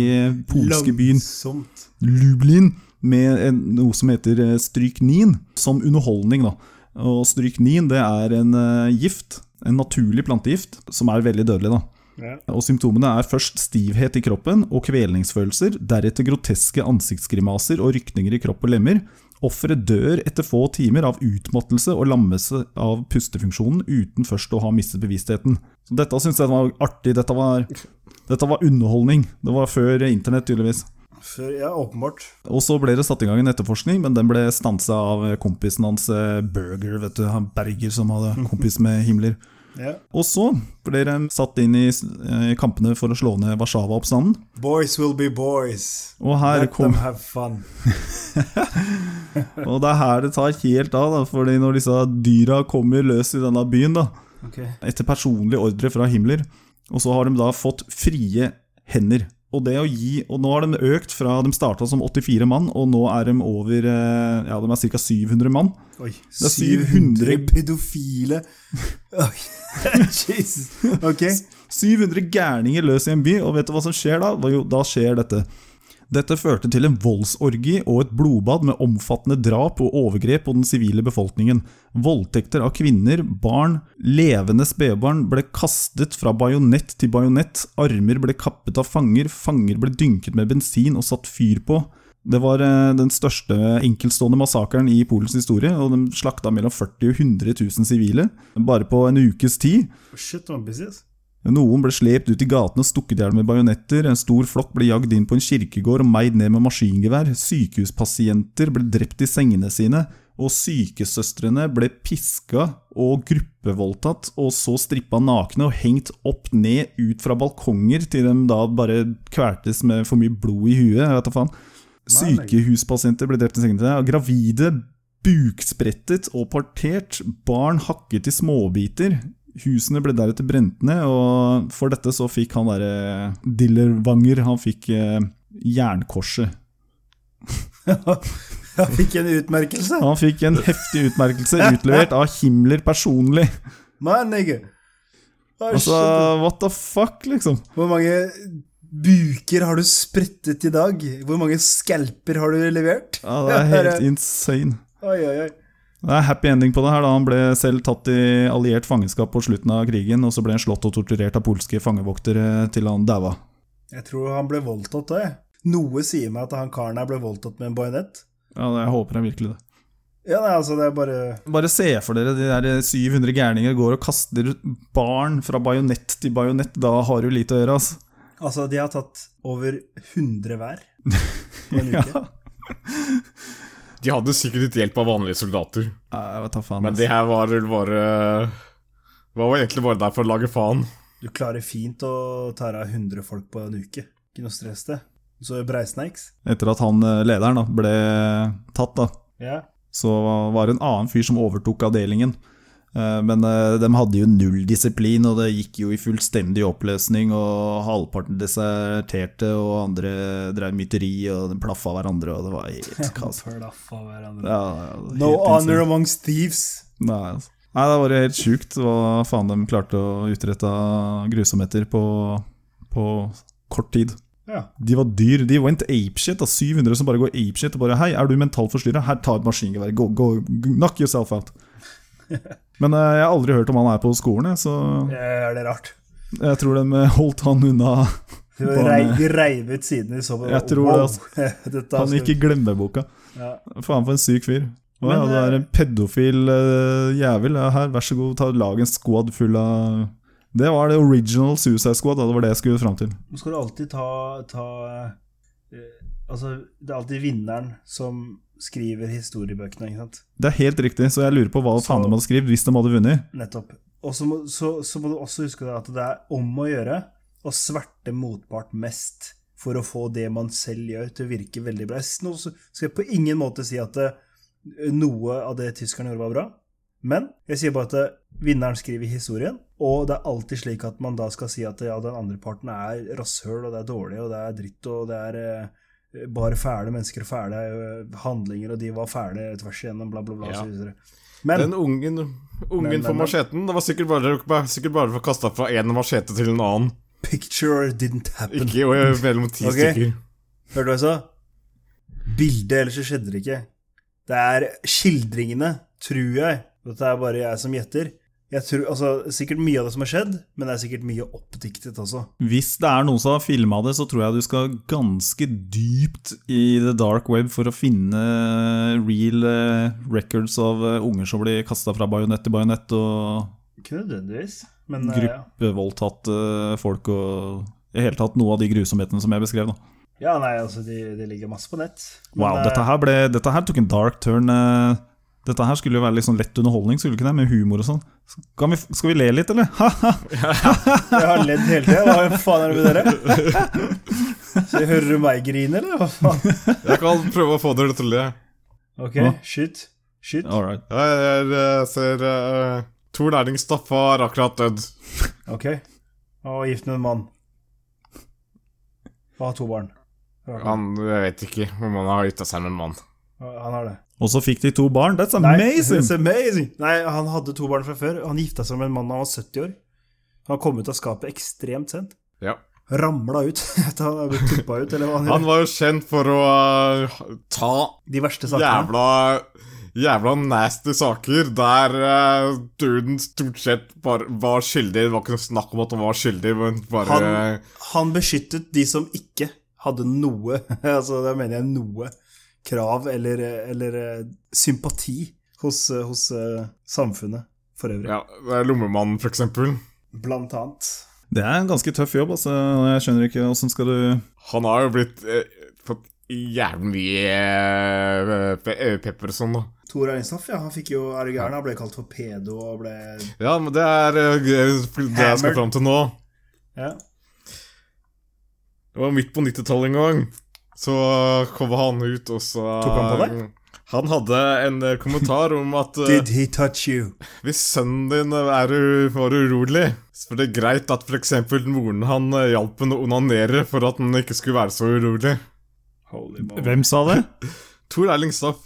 Speaker 3: polske byen
Speaker 1: Langsomt.
Speaker 3: Lublin med en, noe som heter eh, stryknin, som underholdning. Da. Og stryknin det er en eh, gift, en naturlig plantegift, som er veldig dødelig. Da.
Speaker 1: Ja.
Speaker 3: Og Symptomene er først stivhet i kroppen og kvelningsfølelser, deretter groteske ansiktsgrimaser og rykninger i kropp og lemmer. Offeret dør etter få timer av utmattelse og lammelse av pustefunksjonen uten først å ha mistet bevisstheten. Så dette syns jeg var artig. Dette var, dette var underholdning. Det var før internett, tydeligvis.
Speaker 1: Før, ja, åpenbart.
Speaker 3: Og så ble det satt i gang en etterforskning, men den ble stansa av kompisen hans eh, Berger, vet du, han Berger som hadde kompis med Himmler.
Speaker 1: Ja.
Speaker 3: Og så ble de satt inn i eh, kampene for å slå ned Warszawa-oppstanden.
Speaker 1: Boys will be boys.
Speaker 3: Og her
Speaker 1: Let
Speaker 3: kom,
Speaker 1: them have fun.
Speaker 3: og det er her det tar helt av, da, fordi når disse dyra kommer løs i denne byen, da,
Speaker 1: Okay.
Speaker 3: etter personlig ordre fra Himmler, og så har de da fått frie hender. Og det å gi, og nå har de økt fra De starta som 84 mann, og nå er de over eh, Ja, de er ca. 700 mann.
Speaker 1: Oi,
Speaker 3: er 700
Speaker 1: pedofile Oi, Jesus. Ok.
Speaker 3: 700 gærninger løs i en by, og vet du hva som skjer da? Jo, da skjer dette. Dette førte til en voldsorgi og et blodbad med omfattende drap og overgrep på den sivile befolkningen. Voldtekter av kvinner, barn, levende spedbarn ble kastet fra bajonett til bajonett, armer ble kappet av fanger, fanger ble dynket med bensin og satt fyr på. Det var eh, den største enkeltstående massakren i Polens historie, og de slakta mellom 40 og 100 000 sivile, bare på en ukes tid.
Speaker 1: Shit, det var business.
Speaker 3: Noen ble slept ut i gatene og stukket i hjel med bajonetter, en stor flokk ble jagd inn på en kirkegård og meid ned med maskingevær, sykehuspasienter ble drept i sengene sine, og sykesøstrene ble piska og gruppevoldtatt, og så strippa nakne og hengt opp ned ut fra balkonger til de da bare kvertes med for mye blod i huet, jeg vet da faen. Sykehuspasienter ble drept i sengene sine, og gravide buksprettet og partert, barn hakket i småbiter. Husene ble deretter brent ned, og for dette så fikk han derre Dillervanger, han fikk eh, jernkorset.
Speaker 1: Jeg fikk en utmerkelse.
Speaker 3: Han fikk en heftig utmerkelse utlevert av Himmler personlig.
Speaker 1: Man, nigga. Å,
Speaker 3: Altså,
Speaker 1: shit.
Speaker 3: what the fuck, liksom?
Speaker 1: Hvor mange buker har du sprettet i dag? Hvor mange skalper har du levert?
Speaker 3: Ja, det er helt insane.
Speaker 1: Oi, oi, oi.
Speaker 3: Det er happy ending på det her, da. Han ble selv tatt i alliert fangenskap på slutten av krigen, og så ble han slått og torturert av polske fangevoktere til han daua.
Speaker 1: Jeg tror han ble voldtatt òg, jeg. Noe sier meg at han karen her ble voldtatt med en bajonett.
Speaker 3: Ja, jeg håper han virkelig det.
Speaker 1: Ja, nei, altså, det er bare
Speaker 3: Bare se for dere de der 700 gærninger går og kaster barn fra bajonett til bajonett. Da har du lite å gjøre, altså.
Speaker 1: Altså, de har tatt over 100 hver på en uke.
Speaker 2: De
Speaker 3: Ja.
Speaker 2: hadde sikkert litt hjelp av vanlige soldater,
Speaker 3: Nei, Jeg vet da faen.
Speaker 2: men
Speaker 3: altså.
Speaker 2: de her var vel bare Var vel egentlig bare der for å lage faen.
Speaker 1: Du klarer fint å ta deg av 100 folk på en uke. Ikke noe stress, det. Så breisnacks.
Speaker 3: Etter at han eh, lederen da, ble tatt, da,
Speaker 1: Ja.
Speaker 3: så var det en annen fyr som overtok avdelingen. Eh, Men eh, de hadde jo null disiplin, og det gikk jo i fullstendig oppløsning. Og halvparten deserterte, og andre drev myteri, og de plaffa hverandre, og det var helt kaos.
Speaker 1: Plaffa hverandre.
Speaker 3: Ja, ja, helt
Speaker 1: No
Speaker 3: insane.
Speaker 1: honor amongst thieves.
Speaker 3: Nei, altså. Nei, det var helt sjukt hva faen de klarte å utrette av grusomheter på, på kort tid.
Speaker 1: Ja.
Speaker 3: De var dyr. De went apeshit. da, 700 som bare går apeshit og bare 'Hei, er du mentalt forstyrra? Her, ta et maskingevær. Go, go, knock yourself out'. Men eh, jeg har aldri hørt om han er på skolen, jeg, så
Speaker 1: Ja, Eh, er det rart?
Speaker 3: jeg tror de eh, holdt han unna.
Speaker 1: Vi
Speaker 3: Barne-
Speaker 1: rei- vi reiv ut siden vi så på
Speaker 3: Jeg tror det, altså.
Speaker 1: Dette
Speaker 3: Han
Speaker 1: skal-
Speaker 3: gikk i glemmeboka.
Speaker 1: ja.
Speaker 3: Faen for en syk fyr. Å
Speaker 1: Men,
Speaker 3: ja, du er en pedofil eh, jævel. Ja, her, vær så god, ta lag en squad full av Det var det original Suicide Squad, da. det var det jeg skulle fram til.
Speaker 1: Nå skal du alltid ta, ta eh, Altså, det er alltid vinneren som skriver historiebøkene, ikke sant?
Speaker 3: Det er helt riktig, så jeg lurer på hva faen de hadde skrevet hvis de hadde vunnet.
Speaker 1: Nettopp. Og så må, så, så må du også huske det at det er om å gjøre å sverte motpart mest for å få det man selv gjør, til å virke veldig bra. Jeg s- Nå så- skal jeg på ingen måte si at det, noe av det tyskerne gjorde, var bra. Men jeg sier bare at det, vinneren skriver historien, og det er alltid slik at man da skal si at ja, den andre parten er rasshøl, og det er dårlig, og det er dritt, og det er eh, bare fæle mennesker og fæle eh, handlinger, og de var fæle tvers igjennom, bla, bla, bla,
Speaker 2: Ja.
Speaker 1: så videre. Men
Speaker 2: Den ungen, ungen
Speaker 1: Men,
Speaker 2: for
Speaker 1: men, men.
Speaker 2: macheten Det var sikkert bare, bare- sikkert bare for å kaste fra én machete til en annen.
Speaker 1: Picture didn't happen.
Speaker 2: Ikke jo, eh, mellom ti
Speaker 1: Ok.
Speaker 2: stykker.
Speaker 1: Hørte du hva jeg sa? Bildet, ellers så skjedde det ikke. Det er skildringene, tror jeg. Dette er bare jeg som gjetter. Jeg tror, altså, Sikkert mye av det som har skjedd, men det er sikkert mye oppdiktet også.
Speaker 3: Hvis det er noen som har filma det, så tror jeg du skal ganske dypt i the dark web for å finne real eh, records av eh, unger som blir kasta fra bajonett til bajonett, og
Speaker 1: Ikke nødvendigvis, men eh, ja.
Speaker 3: gruppevoldtatt eh, folk og i hele tatt noe av de grusomhetene som jeg beskrev. da
Speaker 1: ja, nei, altså, de, de ligger masse på nett. Men,
Speaker 3: Wow,
Speaker 1: eh,
Speaker 3: dette her, ble, dette her tok en dark turn. eh. Dette her skulle jo være litt sånn lett underholdning, skulle det ikke det? Med humor og sånn. Skal vi, skal vi le litt, eller? Ha-ha!
Speaker 1: Jeg har ledd hele tida. Hva faen er det med dere? Så Hører du meg grine, eller hva faen?
Speaker 2: Jeg kan prøve å få dere til å le.
Speaker 1: Ok,
Speaker 3: Ja.
Speaker 1: skyt. Skyt.
Speaker 3: All right.
Speaker 2: Jeg, jeg, eh, ser eh, Tor Læringstad har akkurat dødd.
Speaker 1: Ok. Og gift med en mann. Og har to barn. Han,
Speaker 2: Han jeg vet ikke om han har gifta seg med en mann.
Speaker 1: han har det.
Speaker 3: Og så fikk de to barn. That's
Speaker 1: Nei,
Speaker 3: amazing!
Speaker 1: it's amazing! Nei, han hadde to barn fra før. Han gifta seg med en mann da han var 70 år. Han kom ut av skapet ekstremt sent.
Speaker 2: Ja.
Speaker 1: Ramla ut. etter han hadde blitt tuppa ut, eller hva han
Speaker 2: Han
Speaker 1: gjør.
Speaker 2: var jo kjent for å eh, ta
Speaker 1: De verste sakene.
Speaker 2: jævla Jævla nasty saker der eh, duden stort sett bare var skyldig. Det var ikke noe snakk om at han var skyldig, men bare
Speaker 1: Han- Han beskyttet de som ikke hadde noe Altså, da mener jeg noe krav eller, eller eh, sympati hos, eh, hos eh, samfunnet for øvrig.
Speaker 2: Ja, det er Lommemannen, for eksempel.
Speaker 1: Blant annet.
Speaker 3: Det er en ganske tøff jobb, altså. Jeg skjønner ikke åssen skal du
Speaker 2: Han har jo blitt eh, fått jævlig mye eh, pe eh, pepper og sånn, da.
Speaker 1: Tor Einstoff, ja, han fikk jo er du gæren? Han ble kalt for pedo og ble
Speaker 2: Ja, men det er eh, det jeg skal
Speaker 1: Hammered.
Speaker 2: fram til nå.
Speaker 1: Ja.
Speaker 2: Det var midt på 90-tallet en gang. Så eh, kom han ut, og så eh,
Speaker 1: Tok han på deg?
Speaker 2: Han hadde en eh, kommentar om at eh,
Speaker 1: Did he touch you?
Speaker 2: hvis sønnen din eh, er u- var urolig, så var det greit at f.eks. moren han eh, hjalp henne å onanere for at han ikke skulle være så urolig.
Speaker 1: Holy moly.
Speaker 3: Hvem sa det?
Speaker 2: Tor Erling Staff.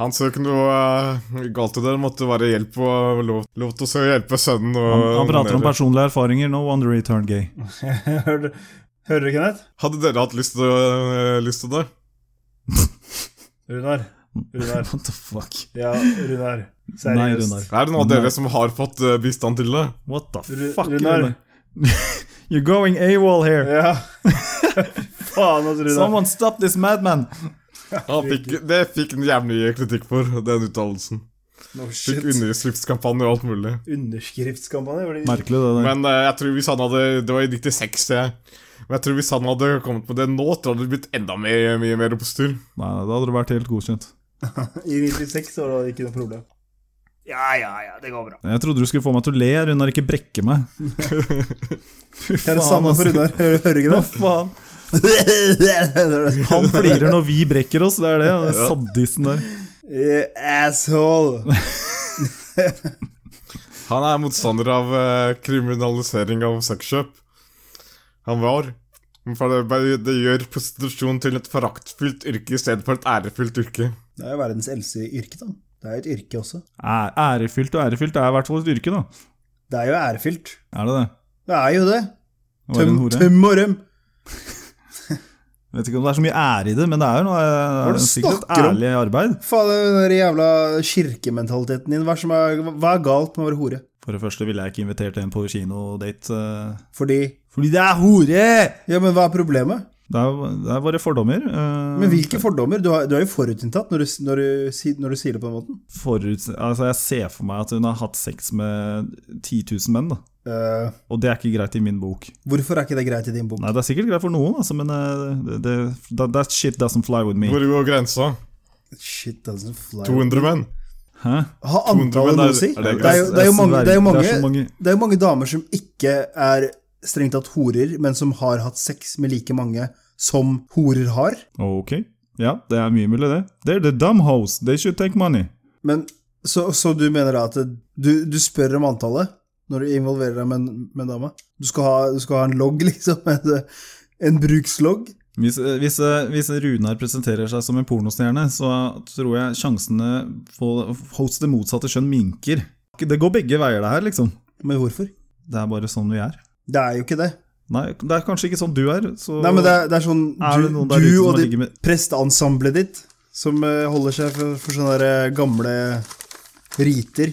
Speaker 2: Han så ikke noe eh, galt i det. Det måtte være hjelp og lov, lov til å så hjelpe sønnen. Og
Speaker 3: Han, han prater om
Speaker 2: onanere.
Speaker 3: personlige erfaringer. No wonder he turned gay.
Speaker 1: Hører du, hører du Kenneth?
Speaker 2: Hadde dere hatt lyst til, eh, lyst til det?
Speaker 1: Runar. Runar.
Speaker 3: What the fuck?
Speaker 1: Ja, Runar.
Speaker 3: Mm. Nei,
Speaker 1: Seriøst.
Speaker 3: Runar.
Speaker 2: Er det noen av dere som har fått eh, bistand til det?
Speaker 3: What the
Speaker 1: Ru-
Speaker 3: fuck?
Speaker 1: Runar.
Speaker 3: You're going AWOL here.
Speaker 1: Ja. Faen, altså, Runar.
Speaker 3: Someone stop this madman!
Speaker 2: Han fikk, det fikk han jævlig mye kritikk for, den uttalelsen.
Speaker 1: No
Speaker 2: Fikk
Speaker 1: shit.
Speaker 2: underskriftskampanje og alt mulig.
Speaker 1: Underskriftskampanje? var det-
Speaker 3: Merkelig, det der.
Speaker 2: Men eh, jeg tror hvis han hadde Det var i 96, jeg. Men jeg tror hvis han hadde kommet med det nå, tror jeg det hadde blitt enda mer, mye mer oppstyr.
Speaker 3: Nei, da hadde det vært helt godkjent.
Speaker 1: I 96 så var det ikke noe problem. Ja, ja, ja, det går bra.
Speaker 3: Jeg trodde du skulle få meg til å le, Runar, ikke brekke meg. Fy
Speaker 1: Det er det samme for
Speaker 3: altså.
Speaker 1: Runar. Hører hører du ikke
Speaker 3: Hva
Speaker 1: det?
Speaker 3: faen?
Speaker 1: Det er
Speaker 3: Han flirer når vi brekker oss, det er det. Den Sadisten der.
Speaker 1: det. Eh, Asshole.
Speaker 2: Han er motstander av eh, kriminalisering av sexkjøp. Han var. For det, det gjør prostitusjon til et foraktfylt yrke i stedet for et ærefylt yrke.
Speaker 1: Det er jo verdens eldste yrke, da. Det er jo et yrke også.
Speaker 3: Æ- Ærefylt og ærefylt det er i hvert fall et yrke, da.
Speaker 1: Det er jo ærefylt.
Speaker 3: Er det det?
Speaker 1: Det er jo det.
Speaker 3: Å være en
Speaker 1: Tøm,
Speaker 3: hore.
Speaker 1: tøm og røm.
Speaker 3: Vet ikke om det er så mye ære i det, men det er jo noe,
Speaker 1: Hva er
Speaker 3: det
Speaker 1: det
Speaker 3: er sikkert et
Speaker 1: snakker om?
Speaker 3: ærlig arbeid.
Speaker 1: Faen, den der jævla kirkementaliteten din. Hva er, som er, hva er galt med å være hore?
Speaker 3: For det første ville jeg ikke invitert en på kinodate. eh,
Speaker 1: Fordi
Speaker 3: Fordi det er hore!
Speaker 1: Ja, men hva er problemet?
Speaker 3: Det er, det er våre fordommer. eh,
Speaker 1: Men hvilke fordommer? Du, har, du er jo forutinntatt når du, når, du, si- når du sier det på den måten.
Speaker 3: forut, altså jeg ser for meg at hun har hatt sex med 10 000 menn. Da.
Speaker 1: Eh,
Speaker 3: Og det er ikke greit i min bok.
Speaker 1: hvorfor er ikke det greit i din bok?
Speaker 3: Nei, Det er sikkert greit for noen, altså, men eh, det, det, that, that shit doesn't fly with me.
Speaker 2: Hvor går grensa?
Speaker 1: Shit doesn't fly.
Speaker 2: 200 menn?
Speaker 3: Hæ?
Speaker 1: Har
Speaker 2: 200,
Speaker 1: antallet
Speaker 2: men
Speaker 1: noe
Speaker 2: er-
Speaker 1: å si?
Speaker 2: er
Speaker 1: Det
Speaker 2: det
Speaker 1: er jo- det er jo mange- det er jo
Speaker 3: Det er
Speaker 1: mange-
Speaker 3: så mange
Speaker 1: det er jo mange damer som ikke er strengt tatt horer, men som har hatt sex med like mange som horer har.
Speaker 3: Ok. Ja, det er mye mulig, det. They're the dumb hoes. They should take money.
Speaker 1: Men, så, så du mener da at du, du spør om antallet når du involverer deg med en, med en dame? Du skal, ha, du skal ha en logg, liksom? En, en brukslogg?
Speaker 3: Hvis, eh, hvis, eh, hvis Runar presenterer seg som en pornostjerne, så tror jeg sjansene for, hos det motsatte kjønn minker. Det går begge veier, det her, liksom.
Speaker 1: Men hvorfor?
Speaker 3: Det er bare sånn vi er.
Speaker 1: Det er jo ikke det.
Speaker 3: Nei, det er kanskje ikke sånn du er. Så
Speaker 1: Nei, men det er, det er sånn
Speaker 3: Er
Speaker 1: Du,
Speaker 3: det noen der ute
Speaker 1: du
Speaker 3: som
Speaker 1: og
Speaker 3: har
Speaker 1: det
Speaker 3: ligget med-
Speaker 1: presteensemblet ditt som eh, holder seg for, for sånne der, eh, gamle riter.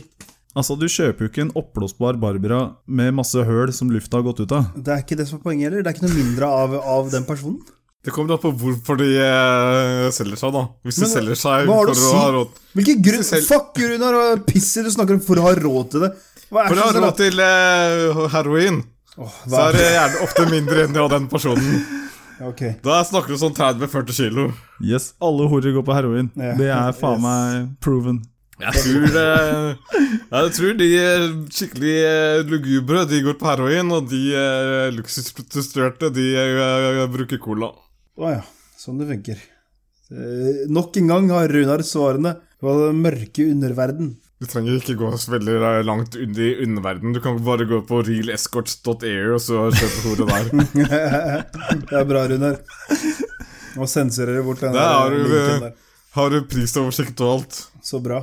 Speaker 3: Altså, du kjøper jo ikke en oppblåsbar Barbara med masse høl som lufta har gått ut av.
Speaker 1: Det er ikke det som er poenget heller. Det er ikke noe mindre av, av den personen.
Speaker 2: Det kommer an på hvorfor de eh, selger seg, da. Hvis de
Speaker 1: Men
Speaker 2: selger seg
Speaker 1: hva har
Speaker 2: for
Speaker 1: det å
Speaker 2: å
Speaker 1: si?
Speaker 2: ha råd
Speaker 1: Hvilken grunn
Speaker 2: Selv-
Speaker 1: Fuck Runar og pisset du snakker om for å ha råd til det. Hva er
Speaker 2: For å ha
Speaker 1: det
Speaker 2: råd til eh, heroin,
Speaker 1: Åh,
Speaker 2: så
Speaker 1: hva
Speaker 2: er
Speaker 1: er
Speaker 2: det gjerne ofte mindre enn av den personen.
Speaker 1: Ok.
Speaker 2: Da snakker du sånn 30-40 kilo.
Speaker 3: Yes, alle horer går på heroin.
Speaker 1: Ja.
Speaker 3: Det er faen
Speaker 1: Yes.
Speaker 3: meg proven.
Speaker 2: Jeg tror, eh, ja, jeg tror de eh, skikkelig eh, lugubre, de går på heroin, og de eh, luksusprostituerte, de eh, bruker cola.
Speaker 1: Å ja. Sånn det funker. Eh, nok en gang har Runar svarene på den mørke underverden.
Speaker 2: Du trenger ikke gå så veldig eh, langt under i underverdenen. Du kan bare gå på realescorts.eu og så kjøpe hodet der.
Speaker 1: Det er bra, Runar. Nå sensurerer du bort den
Speaker 2: Der har du,
Speaker 1: linken
Speaker 2: eh, har du prisoversikt og alt.
Speaker 1: Så bra.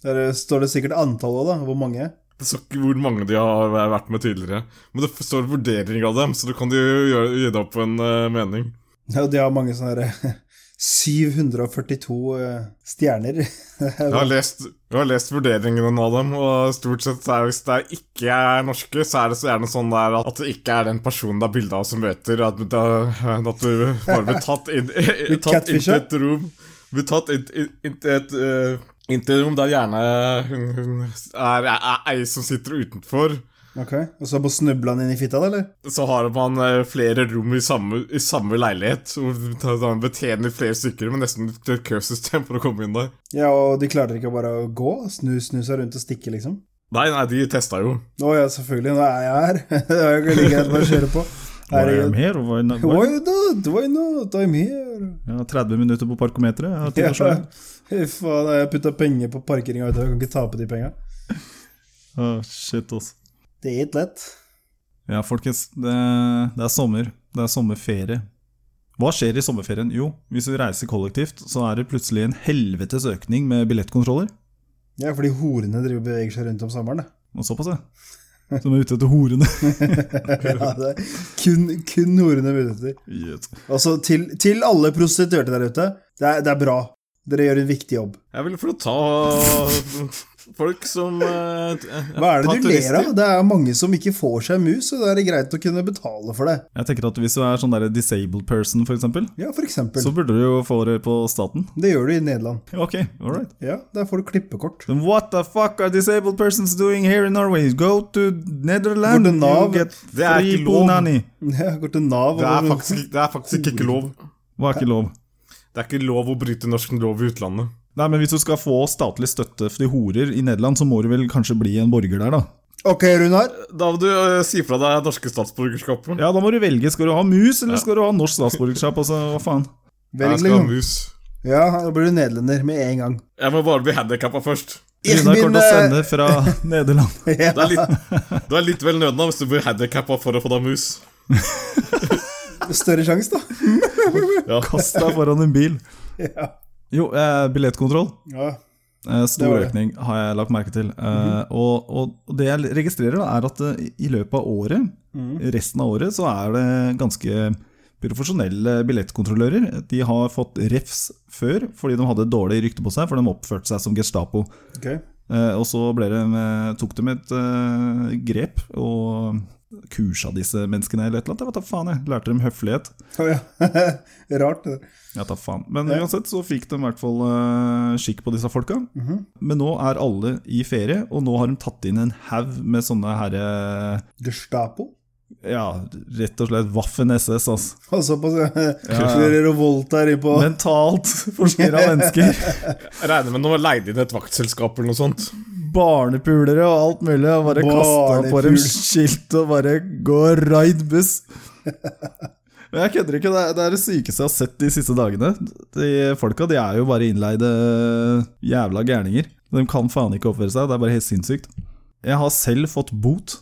Speaker 1: Der eh, står det sikkert antallet òg, da. Hvor mange?
Speaker 2: Det står ikke hvor mange de har vært med tidligere. Men det står vurdering av dem, så du kan jo gjøre, gi deg opp en eh, mening.
Speaker 1: Ja, de har mange sånne derre 742 eh, stjerner.
Speaker 2: Jeg har, lest, jeg har lest vurderingene av dem, og stort sett så er hvis det ikke er norske, så er det så gjerne sånn der at det ikke er den personen det er bilde av som møter, at, da- at du bare blir tatt inn, tatt inn til
Speaker 1: catfisha?
Speaker 2: et rom Blir tatt inn, inn, inn til et eh, inn til et rom der gjerne hun, hun er, er, er ei som sitter utenfor.
Speaker 1: Ok, Og så bare snubla han inn i fitta, da, eller?
Speaker 2: Så har man eh, flere rom i samme, i samme leilighet, og da- da betjener flere stykker med nesten et køsystem for å komme inn der.
Speaker 1: Ja, og de klarte ikke bare å gå? Snu, snu seg rundt og stikke, liksom?
Speaker 2: Nei, nei, de testa jo.
Speaker 1: Å ja, selvfølgelig. Nå er jeg her. Det er jo ikke like greit å bare kjøre på. Herregud.
Speaker 3: her, og var, var,
Speaker 1: Why not? Why not? I'm here.
Speaker 3: ja, 30 minutter på parkometeret. Jeg har tid
Speaker 1: Ja.
Speaker 3: til å slå.
Speaker 1: Fy faen, jeg har putta penger på parkeringa utover. Jeg kan ikke tape de penga.
Speaker 3: Å, shit, altså.
Speaker 1: Det er ikke lett.
Speaker 3: Ja, folkens, det, det er sommer. Det er sommerferie. Hva skjer i sommerferien? Jo, hvis du reiser kollektivt, så er det plutselig en helvetes økning med billettkontroller.
Speaker 1: Ja, fordi horene driver og beveger seg rundt om sommeren. da.
Speaker 3: Og såpass, ja. Som er ute etter horene.
Speaker 1: Ja, det er kun, kun horene vi er ute etter.
Speaker 3: Yes.
Speaker 1: Altså, til, til alle prostituerte der ute, det er, det er bra. Dere gjør en viktig jobb.
Speaker 2: Jeg vil få ta folk som eh,
Speaker 1: Hva er
Speaker 2: ta
Speaker 1: det du
Speaker 2: turister.
Speaker 1: ler av? Det er mange som ikke får seg mus, og da er det greit å kunne betale for det.
Speaker 3: Jeg tenker at Hvis du er sånn der disabled person, for eksempel,
Speaker 1: Ja, for eksempel.
Speaker 3: så burde du jo få det på staten.
Speaker 1: Det gjør du i Nederland.
Speaker 3: Ok, all right.
Speaker 1: Ja, der får du klippekort.
Speaker 3: Then what the fuck are disabled persons doing here in Norway? Go to Netherlands
Speaker 1: Går til Nav.
Speaker 3: you get
Speaker 2: Det er
Speaker 3: free
Speaker 2: ikke lov.
Speaker 3: bonani.
Speaker 1: Jeg går til Nav.
Speaker 2: Det er
Speaker 1: og-
Speaker 2: faktisk, det er faktisk ikke lov.
Speaker 3: Var ikke lov.
Speaker 2: Det er ikke lov å bryte norsk lov i utlandet.
Speaker 3: Nei, men Hvis du skal få statlig støtte til horer i Nederland, så må du vel kanskje bli en borger der, da?
Speaker 1: Ok, Runar.
Speaker 2: Da må du eh, si fra deg norske statsborgerskapet.
Speaker 3: Ja, da må du velge. Skal du ha mus, eller skal du ha norsk statsborgerskap? Altså, hva faen?
Speaker 2: Jeg
Speaker 1: Velg
Speaker 2: skal ha
Speaker 1: deg.
Speaker 2: mus.
Speaker 1: Ja, da blir du nederlender med en gang.
Speaker 2: Jeg må bare bli handikappa først.
Speaker 1: Ich
Speaker 3: Runar kommer til å
Speaker 1: bin, eh,
Speaker 3: sende fra Nederland.
Speaker 2: Du er litt, du er litt vel nødna hvis du blir handikappa for å få deg mus.
Speaker 1: Større sjanse, da.
Speaker 2: Ja.
Speaker 3: Kast deg foran en bil.
Speaker 1: Ja.
Speaker 3: Jo, eh, billettkontroll.
Speaker 1: ja.
Speaker 3: Eh,
Speaker 1: Det var
Speaker 3: stor
Speaker 1: det. Mhm.
Speaker 3: økning, har jeg lagt merke til. Eh, og, og det jeg registrerer, da, er at eh, i løpet av året,
Speaker 1: Mhm.
Speaker 3: resten av året, så er det ganske profesjonelle billettkontrollører. De har fått refs før fordi de hadde dårlig rykte på seg, for de oppførte seg som Gestapo.
Speaker 1: Ok.
Speaker 3: Eh, og så ble de, eh, tok de et eh, grep og kursa disse menneskene eller et eller annet. Jeg vet da faen, jeg. Lærte dem høflighet.
Speaker 1: Å ja. Rart, det der.
Speaker 3: Jeg tar faen. Men uansett så fikk de i hvert fall eh, skikk på disse folka. Men nå er alle i ferie, og nå har de tatt inn en haug med sånne herre
Speaker 1: Gestapo?
Speaker 3: Ja, rett og slett Waffen-SS, altså.
Speaker 1: Og såpass, ja. Kjører revolt her innpå.
Speaker 3: Mentalt forstyrra mennesker.
Speaker 2: Jeg regner med noe leid inn et vaktselskap eller noe sånt.
Speaker 3: Barnepulere og alt mulig. Og bare kasta på dem
Speaker 1: Barnepul.
Speaker 3: skilt og bare gå raid buss. Men jeg kødder ikke, det er, det er det sykeste jeg har sett de siste dagene. De folka de er jo bare innleide jævla gærninger. De kan faen ikke oppføre seg, det er bare helt sinnssykt. Jeg har selv fått bot.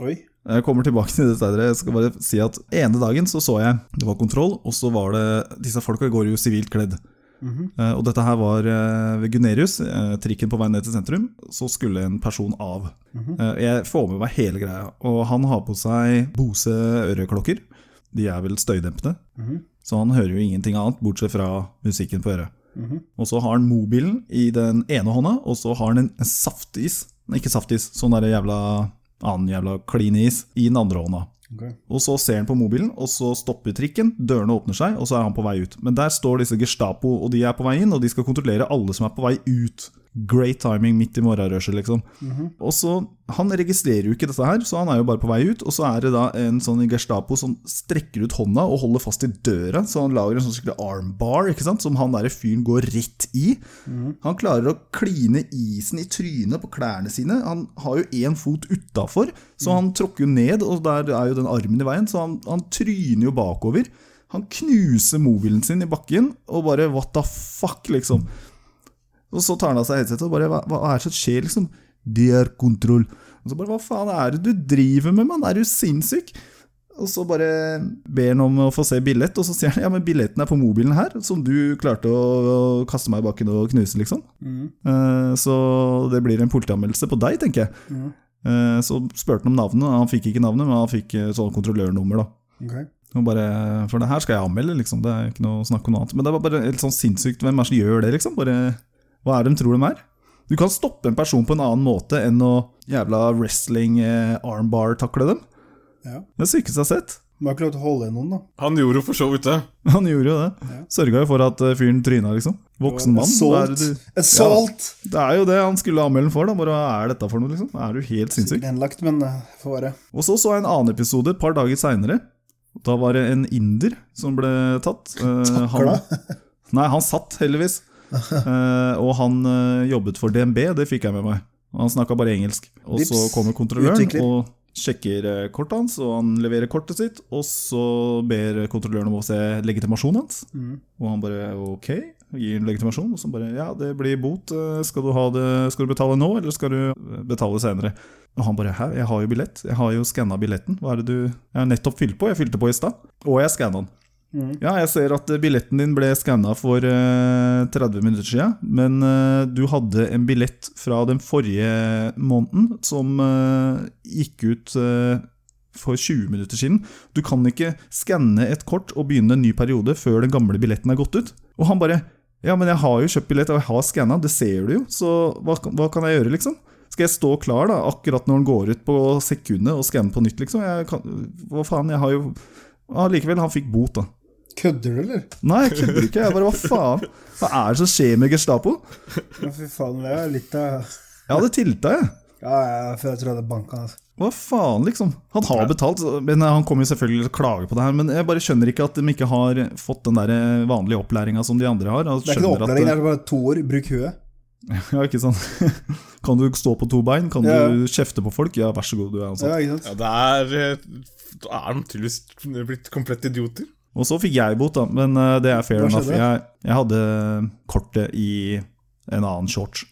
Speaker 1: Oi.
Speaker 3: Jeg kommer tilbake til det senere. Jeg skal bare si at ene dagen så så jeg det var kontroll, og så var det Disse folka går jo sivilt kledd. Eh, Og dette her var eh, ved Gunerius, eh, trikken på vei ned til sentrum. Så skulle en person av. Eh, Jeg får med meg hele greia. Og han har på seg Bose øreklokker. De er vel støydempende.
Speaker 1: Mhm,
Speaker 3: Så han hører jo ingenting annet, bortsett fra musikken på øret.
Speaker 1: mhm,
Speaker 3: Og så har han mobilen i den ene hånda, og så har han en, en saftis Nei, Ikke saftis, sånn derre jævla annen jævla klinis i den andre hånda.
Speaker 1: Ok.
Speaker 3: Og så ser han på mobilen, og så stopper trikken, dørene åpner seg, og så er han på vei ut. Men der står disse Gestapo, og de er på vei inn, og de skal kontrollere alle som er på vei ut. Great timing midt i morgenrushet, liksom.
Speaker 1: Mhm,
Speaker 3: Og så, Han registrerer jo ikke dette her, så han er jo bare på vei ut. Og så er det da en sånn Gestapo som strekker ut hånda og holder fast i døra, så han lager en sånn skikkelig armbar, ikke sant, som han derre fyren går rett i. Han klarer å kline isen i trynet på klærne sine. Han har jo én fot utafor, så han tråkker jo ned, og der er jo den armen i veien, så han, han tryner jo bakover. Han knuser mobilen sin i bakken, og bare what the fuck, liksom. Og så tar han av seg headsetet og bare Hva, hva er det som skjer, liksom? Det er kontroll. Og så bare Hva faen er det du driver med, mann? Er du sinnssyk? Og så bare ber han om å få se billett, og så sier han ja, men billetten er på mobilen her, som du klarte å, å kaste meg i bakken og knuse, liksom.
Speaker 1: mhm,
Speaker 3: Eh, Så det blir en politianmeldelse på deg, tenker jeg.
Speaker 1: Mhm.
Speaker 3: Eh, Så spurte han om navnet, han fikk ikke navnet, men han fikk eh, sånn kontrollørnummer, da.
Speaker 1: Ok.
Speaker 3: Og bare, for det her skal jeg anmelde, liksom. Det er ikke noe snakk om noe annet. Men det var bare helt sånn sinnssykt. Hvem er det som gjør det, liksom? Bare, hva er det de tror de er? Du kan stoppe en person på en annen måte enn å jævla wrestling-armbar-takle dem.
Speaker 1: Ja.
Speaker 3: Det er det sykeste jeg har sett.
Speaker 1: Man har ikke lov til å holde i noen, da.
Speaker 2: Han gjorde jo for så vidt det.
Speaker 3: Han gjorde jo det. Sørga jo for at eh, fyren tryna, liksom. Voksen mann. hva er
Speaker 1: Assault!
Speaker 3: det du-
Speaker 1: Assault!
Speaker 3: Det er jo det han skulle anmelde den for. da, Bare hva er dette for noe, liksom? Er du helt sinnssyk?
Speaker 1: Sikkert henlagt, men eh, får være.
Speaker 3: Og så så jeg en annen episode et par dager seinere. Da var det en inder som ble tatt. Eh, han, nei, han satt heldigvis. Eh, og han eh, jobbet for DNB, det fikk jeg med meg. Og han snakka bare engelsk. Og så
Speaker 1: Vips,
Speaker 3: kommer kontrolløren
Speaker 1: utvikler.
Speaker 3: og sjekker eh, kortet hans, og han leverer kortet sitt. Og så ber kontrolløren om å se legitimasjonen hans.
Speaker 1: Mhm,
Speaker 3: Og han bare ok, gir en legitimasjon. Og så bare ja, det blir bot. Eh, Skal du, ha det, skal du betale nå, eller skal du eh, betale senere? Og han bare hæ, jeg har jo billett. Jeg har jo skanna billetten. Hva er det du Jeg har nettopp fylt på. Jeg fylte på i stad. Og jeg skanna den.
Speaker 1: Mhm.
Speaker 3: Ja, jeg ser at eh, billetten din ble skanna for eh, 30 minutter siden, men eh, du hadde en billett fra den forrige måneden som eh, gikk ut eh, for 20 minutter siden. Du kan ikke skanne et kort og begynne en ny periode før den gamle billetten er gått ut. Og han bare Ja, men jeg har jo kjøpt billett, og jeg har skanna, det ser du jo, så hva, kan- hva kan jeg gjøre, liksom? Skal jeg stå klar da, akkurat når den går ut på sekundet og skanne på nytt, liksom? Jeg kan, hva faen, jeg har jo Allikevel, han fikk bot, da.
Speaker 1: Kødder du, eller?
Speaker 3: Nei, jeg kødder ikke. Jeg bare, hva faen? Hva er det som skjer med Gestapo?
Speaker 1: Ja, fy faen, det er litt av
Speaker 3: Jeg hadde tilta, jeg.
Speaker 1: Ja, ja, for jeg tror jeg hadde banka altså.
Speaker 3: Hva faen, liksom? Han har betalt, så- men han kommer jo selvfølgelig til å klage på det her. Men jeg bare skjønner ikke at de ikke har fått den der eh, vanlige opplæringa som de andre har.
Speaker 1: Det er ikke noe opplæring, det
Speaker 3: der.
Speaker 1: er bare to år. Bruk huet.
Speaker 3: Ja, ikke sant? Kan du stå på to bein? Kan
Speaker 1: Ja, ja.
Speaker 3: du kjefte på folk? Ja, vær så god, du er ansatt.
Speaker 1: Ja, ikke sant?
Speaker 2: Ja, det er eh, Da er de tydeligvis blitt komplett idioter.
Speaker 3: Og så fikk jeg bot, da. Men eh, det er fair
Speaker 1: Hva
Speaker 3: enough.
Speaker 1: skjedde?
Speaker 3: Jeg, jeg hadde kortet i en annen shorts.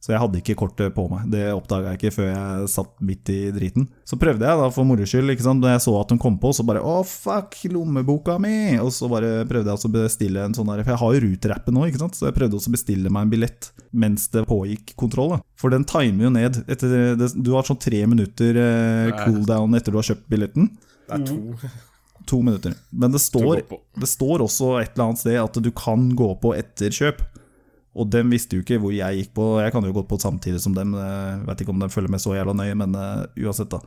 Speaker 3: Så jeg hadde ikke kortet på meg. Det oppdaga jeg ikke før jeg satt midt i driten. Så prøvde jeg da for moro skyld, ikke sant. Da jeg så at hun kom på, så bare Å, fuck, lommeboka mi! Og så bare prøvde jeg også å bestille en sånn der, for jeg har jo Ruter-appen nå, ikke sant. Så jeg prøvde også å bestille meg en billett mens det pågikk kontroll, da. For den timer jo ned. Etter det, du har sånn tre minutter eh,
Speaker 2: Nei.
Speaker 3: cooldown etter du har kjøpt billetten.
Speaker 2: Det er to.
Speaker 3: To minutter. Men det står,
Speaker 2: går på.
Speaker 3: det står også et eller annet sted at du kan gå på etter kjøp. Og dem visste jo ikke hvor jeg gikk på. Jeg kan jo gått på samtidig som dem. eh, Vet ikke om de følger med så jævla nøye, men eh, uansett, da.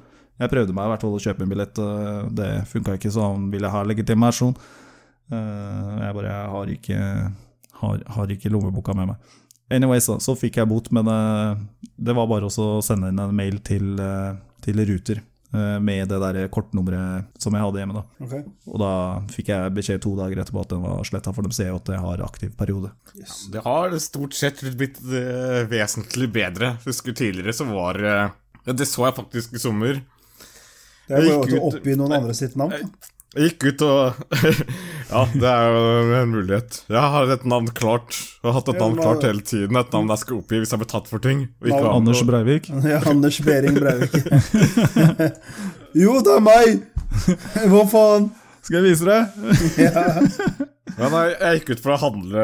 Speaker 3: Jeg prøvde meg i hvert fall å kjøpe en billett, og det funka ikke, så han ville ha legitimasjon. Eh, Jeg bare jeg har ikke, har, har ikke lommeboka med meg. Anyways, da, så fikk jeg bot, men eh, det var bare også å sende inn en mail til, eh, til Ruter eh, med det der kortnummeret som jeg hadde hjemme, da.
Speaker 1: Ok.
Speaker 3: Og da fikk jeg beskjed to dager etterpå at den var sletta, for de ser jo at jeg har aktiv periode.
Speaker 2: Det har stort sett blitt eh, vesentlig bedre. Husker tidligere så var eh, ja, Det så jeg faktisk i sommer.
Speaker 1: Det er
Speaker 2: Jeg
Speaker 1: bare
Speaker 2: gikk
Speaker 1: å
Speaker 2: ut-
Speaker 1: oppgi noen andre sitt navn. da.
Speaker 2: Jeg gikk ut og Ja, det er jo en mulighet. Jeg har et navn klart. Jeg har hatt et
Speaker 1: Ja,
Speaker 2: navn
Speaker 1: hva-
Speaker 2: klart hele tiden. Et navn jeg skal oppgi hvis jeg blir tatt for ting. Og ikke
Speaker 1: Navn-
Speaker 2: har-
Speaker 3: Anders Breivik.
Speaker 1: Ja, Anders Behring Breivik. jo, det er meg! Hva faen?
Speaker 3: Skal jeg vise deg?
Speaker 2: Ja, nei, jeg gikk ut for å handle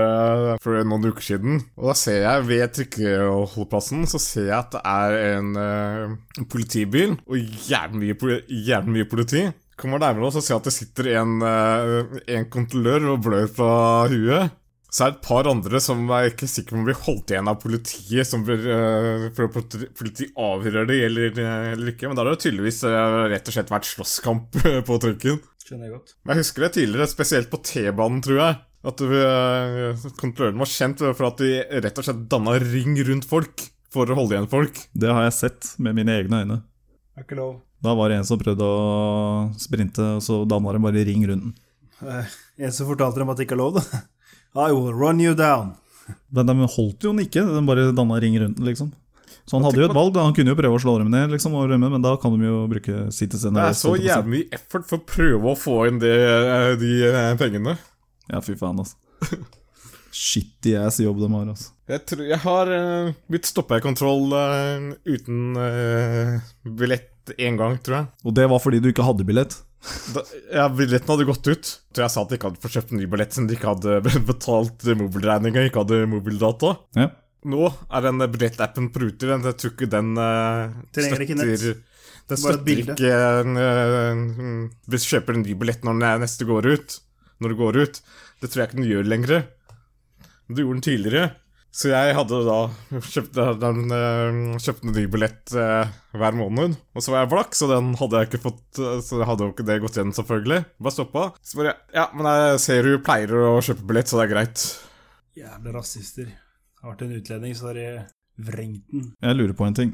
Speaker 2: for noen uker siden, og da ser jeg ved trikkeholdeplassen så ser jeg at det er en, eh, en politibil og jævlig mye, poli- jævlig mye politi. Kommer nærmere og så ser jeg at det sitter en, eh, en kontrollør og blør fra huet. Så er det et par andre som er ikke sikre på om blir holdt igjen av politiet, som blir, eh, for politi- politiet avhører de eller, eh, eller ikke. Men da har det tydeligvis eh, rett og slett vært slåsskamp på trikken.
Speaker 1: Skjønner jeg godt.
Speaker 2: Men jeg husker det tidligere, spesielt på T-banen, tror jeg. At øh, kontrolløren var kjent for at de rett og slett danna ring rundt folk for å holde igjen folk.
Speaker 3: Det har jeg sett med mine egne øyne.
Speaker 1: Det er ikke lov.
Speaker 3: Da var det en som prøvde å sprinte, og så danna de bare ring rundt den.
Speaker 1: Eh, En som fortalte dem at det ikke er lov, da. I will run you down.
Speaker 3: Men de holdt jo den ikke, de bare danna ring rundt den, liksom. Så han hadde jo et valg, da. han kunne jo prøve å slå dem ned, liksom, og rømme, men da kan de jo bruke citizen
Speaker 2: Det er
Speaker 3: arrest,
Speaker 2: så
Speaker 3: holdt jeg på å si.
Speaker 2: jævlig mye effort for å prøve å få inn det, øh, de øh, eh, pengene.
Speaker 3: Ja, fy faen, altså. Shitty ass jobb de har, altså.
Speaker 2: Jeg, tror, jeg har eh, blitt stoppa i kontroll eh, uten eh, billett én gang, tror jeg.
Speaker 3: Og det var fordi du ikke hadde billett.
Speaker 2: Da, ja, Billetten hadde gått ut. Så jeg sa at de ikke hadde fått kjøpt en ny billett siden de ikke hadde betalt mobilregninga, ikke hadde mobildata.
Speaker 3: Ja.
Speaker 2: Nå er den billettappen på Ruter den- Jeg tror ikke den eh,
Speaker 1: Trenger ikke nett.
Speaker 2: Den
Speaker 1: Bare et
Speaker 2: støtter
Speaker 1: bilde.
Speaker 2: ikke eh, eh, Hvis du kjøper en ny billett når den neste går ut. Når det går ut. Det tror jeg ikke den gjør lenger. Men Det gjorde den tidligere. Så jeg hadde da kjøpt den, eh, kjøpt en ny billett eh, hver måned. Og så var jeg blakk, så den hadde jeg ikke fått eh, Så hadde jo ikke det gått igjen, selvfølgelig. Bare stoppa. Så bare Ja, men jeg ser du pleier å kjøpe billett, så det er greit.
Speaker 1: Jævla rasister. Har vært en utlending, så har de vrengt den.
Speaker 3: Jeg lurer på en ting.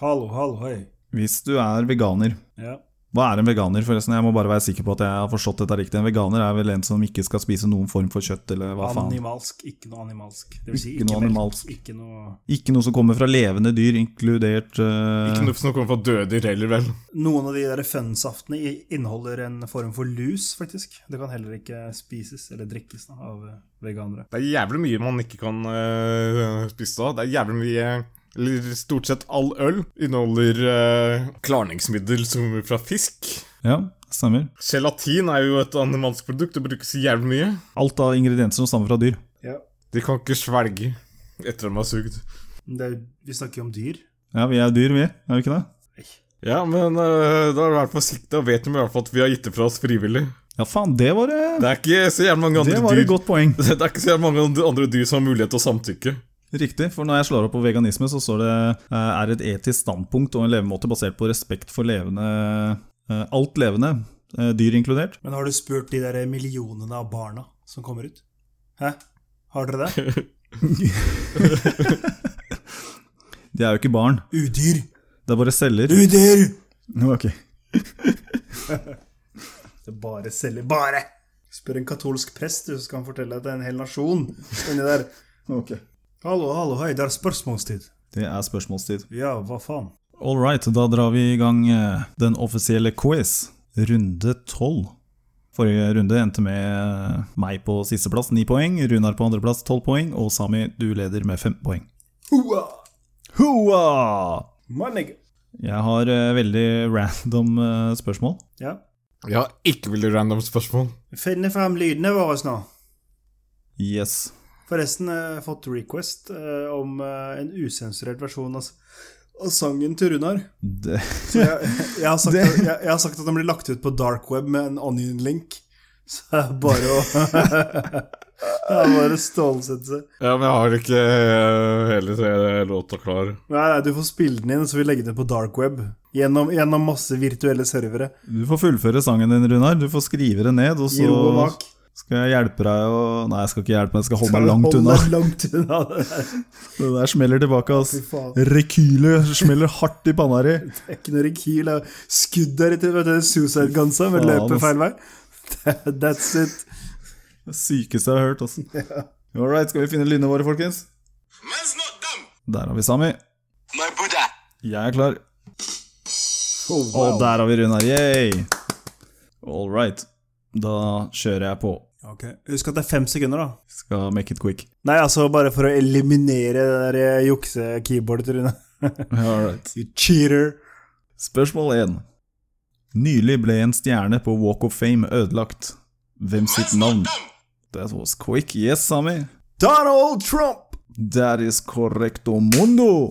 Speaker 1: Hallo, hallo, hei.
Speaker 3: Hvis du er veganer
Speaker 1: Ja.
Speaker 3: Hva er en veganer, forresten? Jeg må bare være sikker på at jeg har forstått dette riktig. En veganer er vel en som ikke skal spise noen form for kjøtt, eller hva faen.
Speaker 1: Animalsk, ikke noe animalsk. Det vil si
Speaker 3: Ikke
Speaker 1: ikke,
Speaker 3: noe
Speaker 1: melk,
Speaker 3: animalsk.
Speaker 1: Ikke noe
Speaker 3: Ikke noe som kommer fra levende dyr, inkludert eh,
Speaker 2: Ikke noe som kommer fra døder heller, vel.
Speaker 1: Noen av de der fønsaftene i- inneholder en form for lus, faktisk. Det kan heller ikke spises eller drikkes da, av eh, veganere.
Speaker 2: Det er jævlig mye man ikke kan øh, spise av. Det er jævlig mye eller Stort sett all øl inneholder øh, klarningsmiddel som kommer fra fisk.
Speaker 3: Ja, stemmer.
Speaker 2: Gelatin er jo et animalsk produkt og brukes jævlig mye.
Speaker 3: Alt av ingredienser som stammer fra dyr.
Speaker 1: Ja.
Speaker 2: De kan ikke svelge etter de har sugd.
Speaker 1: Men Det er, jo- vi snakker jo om dyr.
Speaker 3: Ja, vi er dyr, vi. Er vi ikke det?
Speaker 1: Nei.
Speaker 2: Ja, men øh, da er du vært forsiktig og vet de i hvert fall at vi har gitt det fra oss frivillig.
Speaker 3: Ja, faen, det var, eh,
Speaker 2: Det er ikke så jævlig mange
Speaker 3: det
Speaker 2: andre
Speaker 3: var et
Speaker 2: dyr
Speaker 3: godt poeng.
Speaker 2: Det er ikke så jævlig mange andre- andre dyr som har mulighet til å samtykke.
Speaker 3: Riktig, for når jeg slår opp på veganisme, så står det eh, er et etisk standpunkt og en levemåte basert på respekt for levende eh, alt levende, eh, dyr inkludert.
Speaker 1: Men har du spurt de der millionene av barna som kommer ut? Hæ? Har dere det?
Speaker 3: De er jo ikke barn,
Speaker 1: Udyr!
Speaker 3: det er bare celler.
Speaker 1: Udyr!
Speaker 3: Ok.
Speaker 1: Det er bare celler. Bare! Spør en katolsk prest, du, så skal han fortelle at det er en hel nasjon inni der. Hallo, hallo, hei, det er spørsmålstid.
Speaker 3: Det er spørsmålstid.
Speaker 1: Ja, hva faen?
Speaker 3: All right, da drar vi i gang eh, den offisielle quiz. Runde tolv. Forrige runde endte med eh, meg på sisteplass, ni poeng. Runar på andreplass, tolv poeng. Og Sami, du leder med fem poeng.
Speaker 1: Hua!
Speaker 3: Hoa!
Speaker 1: Mannig!
Speaker 3: Jeg har eh, veldig random eh, spørsmål.
Speaker 1: Ja.
Speaker 2: Jeg har ikke veldig random spørsmål.
Speaker 1: Finne frem lydene våre nå.
Speaker 3: Yes.
Speaker 1: Forresten eh, jeg har fått request eh, om eh, en usensurert versjon av, s- av sangen til Runar.
Speaker 3: Det,
Speaker 1: Så jeg, jeg, har sagt at, jeg, jeg har sagt at den blir lagt ut på dark web med en onion link. Så det er bare å Det er bare å stålsette seg.
Speaker 2: Ja, men jeg har ikke øh, hele øh, låta klar.
Speaker 1: Nei, nei, du får spille den inn, så vi legger den på dark web. Gjennom, gjennom masse virtuelle servere.
Speaker 3: du får fullføre sangen din, Runar. Du får skrive det ned, og
Speaker 1: I ro og
Speaker 3: så
Speaker 1: mak.
Speaker 3: skal jeg hjelpe deg å Nei, jeg skal ikke hjelpe, jeg skal holde meg langt unna.
Speaker 1: Hold deg langt unna det der.
Speaker 3: Det der smeller tilbake, ass.
Speaker 1: Fy faen.
Speaker 3: Rekylet smeller hardt i panna di.
Speaker 1: Det er ikke noe rekyl. det er Skudd der ute. vet du, Suicide gunsa, men
Speaker 3: Faen,
Speaker 1: løper
Speaker 3: ass.
Speaker 1: feil vei. That's it.
Speaker 3: Det sykeste jeg har hørt, altså. All right, skal vi finne lynene våre, folkens?
Speaker 4: Man's not dumb.
Speaker 3: Der har vi Sami.
Speaker 4: My Buddha.
Speaker 3: Jeg er klar.
Speaker 1: Oh,
Speaker 3: Og der har vi Runar. Yay! All right. Da kjører jeg på.
Speaker 1: Ok, Husk at det er fem sekunder, da.
Speaker 3: Skal make it quick.
Speaker 1: Nei, altså bare for å eliminere det der eh, jukse-keyboardet til Rune.
Speaker 3: All right.
Speaker 1: You cheater.
Speaker 3: Spørsmål 1. Nylig ble en stjerne på Walk of Fame ødelagt. Hvem sitt navn? That was quick. Yes, Sami.
Speaker 1: Donald Trump!
Speaker 3: That is correcto mundo.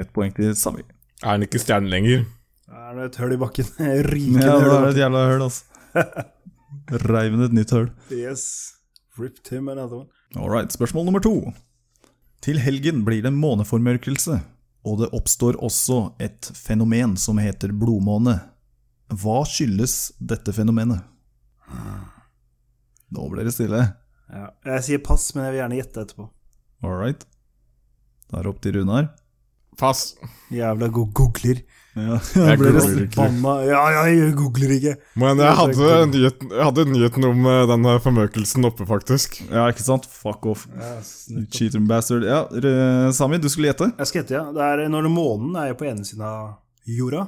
Speaker 3: Ett poeng til Sami.
Speaker 2: Er den ikke stjerne lenger?
Speaker 1: Da er det et hull i bakken. Rikende
Speaker 3: Ja, det er
Speaker 1: hull. i
Speaker 3: et jævla høl, altså. Reiv den et nytt høl.
Speaker 1: bakken. Yes. Ripped him another one.
Speaker 3: Alright, spørsmål nummer to. Til helgen blir det måneformørkelse, og det oppstår også et fenomen som heter blodmåne. Hva skyldes dette fenomenet? Nå ble det stille.
Speaker 1: Ja. Jeg sier pass, men jeg vil gjerne gjette etterpå.
Speaker 3: Alright. Da er det opp til Runar.
Speaker 2: Pass.
Speaker 1: Jævla god googler.
Speaker 3: Ja,
Speaker 2: Jeg
Speaker 3: ble det
Speaker 2: googler ikke.
Speaker 1: Banna Ja, ja, jeg googler ikke.
Speaker 2: Men
Speaker 1: Det er
Speaker 2: jeg hadde,
Speaker 1: korrekt.
Speaker 2: nyheten, jeg hadde nyheten om eh, den eh, formøkelsen oppe, faktisk.
Speaker 3: ja, ikke sant? Fuck off. You
Speaker 1: Jeg
Speaker 3: Cheater bastard. Ja, R- Sami, du skulle gjette.
Speaker 1: skal gjette, ja. Det er når det- månen er jo på ene siden av jorda,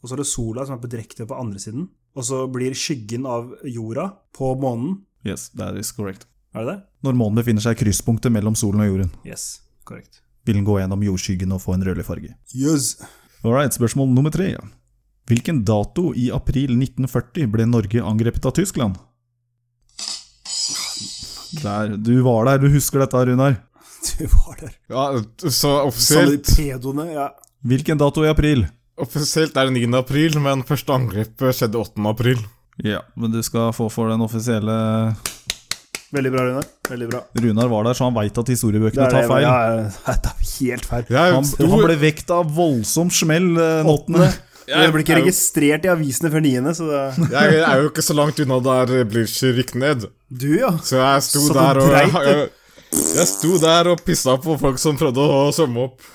Speaker 1: og så er det sola som er på direkte på andre siden, og så blir skyggen av jorda på månen,
Speaker 3: Yes, that is correct.
Speaker 1: Er det det?
Speaker 3: Når månen befinner seg i krysspunktet mellom solen og jorden,
Speaker 1: Yes, korrekt.
Speaker 3: vil den gå gjennom jordskyggen og få en rødlig farge.
Speaker 1: Yes.
Speaker 3: Alright, spørsmål nummer tre. Hvilken dato i april 1940 ble Norge angrepet av Tyskland? Der, du var der, du husker dette, Runar.
Speaker 1: Du var der.
Speaker 2: Ja, så
Speaker 1: Alle de
Speaker 2: offisielt,
Speaker 1: pedoene. Ja.
Speaker 3: Hvilken dato i april?
Speaker 2: offisielt er det 9. april, men første angrepet skjedde 8. april.
Speaker 3: Ja, men du skal få for den offisielle
Speaker 1: Veldig bra, Rune. Veldig bra.
Speaker 3: Runar var der, så han veit at historiebøkene
Speaker 1: Det er
Speaker 3: tar
Speaker 1: det-
Speaker 3: feil.
Speaker 1: Ja, ja, ja, det er helt feil.
Speaker 2: Jeg
Speaker 3: Han,
Speaker 2: sto,
Speaker 3: han ble vekt av voldsom smell eh, den åttende.
Speaker 1: Det ble ikke
Speaker 2: jeg,
Speaker 1: registrert i avisene før niende, så det
Speaker 2: jeg er jo ikke så langt unna der Blücher gikk ned.
Speaker 1: Du, ja.
Speaker 2: Så jeg sto
Speaker 1: Så du
Speaker 2: der og
Speaker 1: dreit
Speaker 2: jeg, jeg, jeg sto der og pissa på folk som prøvde å svømme opp.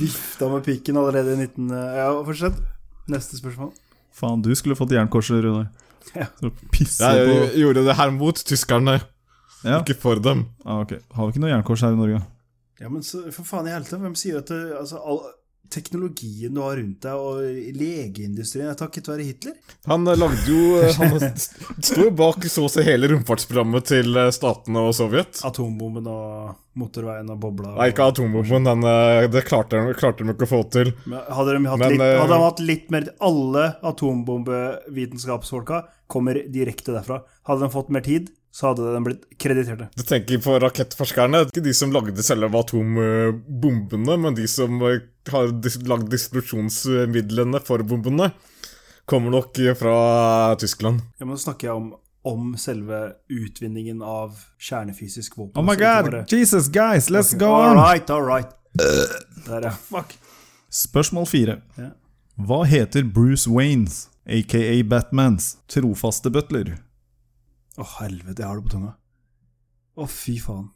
Speaker 1: Vifta med pikken allerede i 19... Ja, fortsett. Neste spørsmål.
Speaker 3: Faen, du skulle fått jernkorset, Runar.
Speaker 1: Ja.
Speaker 3: Så pisser
Speaker 2: Jeg,
Speaker 3: på
Speaker 2: gjorde det her mot tyskerne,
Speaker 3: Ja,
Speaker 2: ikke for dem.
Speaker 3: ah, ok. Har vi ikke noe jernkors her i Norge?
Speaker 1: Ja, men så, for faen i helvete, hvem sier at det, altså, all teknologien du har rundt deg, og legeindustrien er takket være Hitler?
Speaker 2: Han eh, lagde jo eh, Han st- sto jo bak så å si hele romfartsprogrammet til eh, statene og Sovjet.
Speaker 1: Atombomben og motorveien og bobla.
Speaker 2: Nei, ikke atombomben. Den, eh, det klarte de, klarte de ikke å få til.
Speaker 1: Men Hadde de hatt,
Speaker 2: Men,
Speaker 1: litt,
Speaker 2: eh,
Speaker 1: hadde de hatt litt mer Alle atombombevitenskapsfolka kommer direkte derfra. Hadde de fått mer tid, så hadde de blitt krediterte.
Speaker 2: Du tenker på rakettforskerne. Ikke de som lagde selve atombombene, men de som eh, har dis lagd distribusjonsmidlene for bombene, kommer nok eh, fra Tyskland.
Speaker 1: Ja, men nå snakker jeg om, om selve utvinningen av kjernefysisk våpen.
Speaker 3: Oh my
Speaker 1: så ikke
Speaker 3: god,
Speaker 1: bare-
Speaker 3: Jesus, guys, let's go
Speaker 1: All
Speaker 3: on!
Speaker 1: right, all right. Der, ja. Eh. Fuck.
Speaker 3: Spørsmål fire.
Speaker 1: Ja.
Speaker 3: Hva heter Bruce Waynes, aka Batmans, trofaste butler?
Speaker 1: Å, helvete, jeg har det på tunga. Å, fy faen.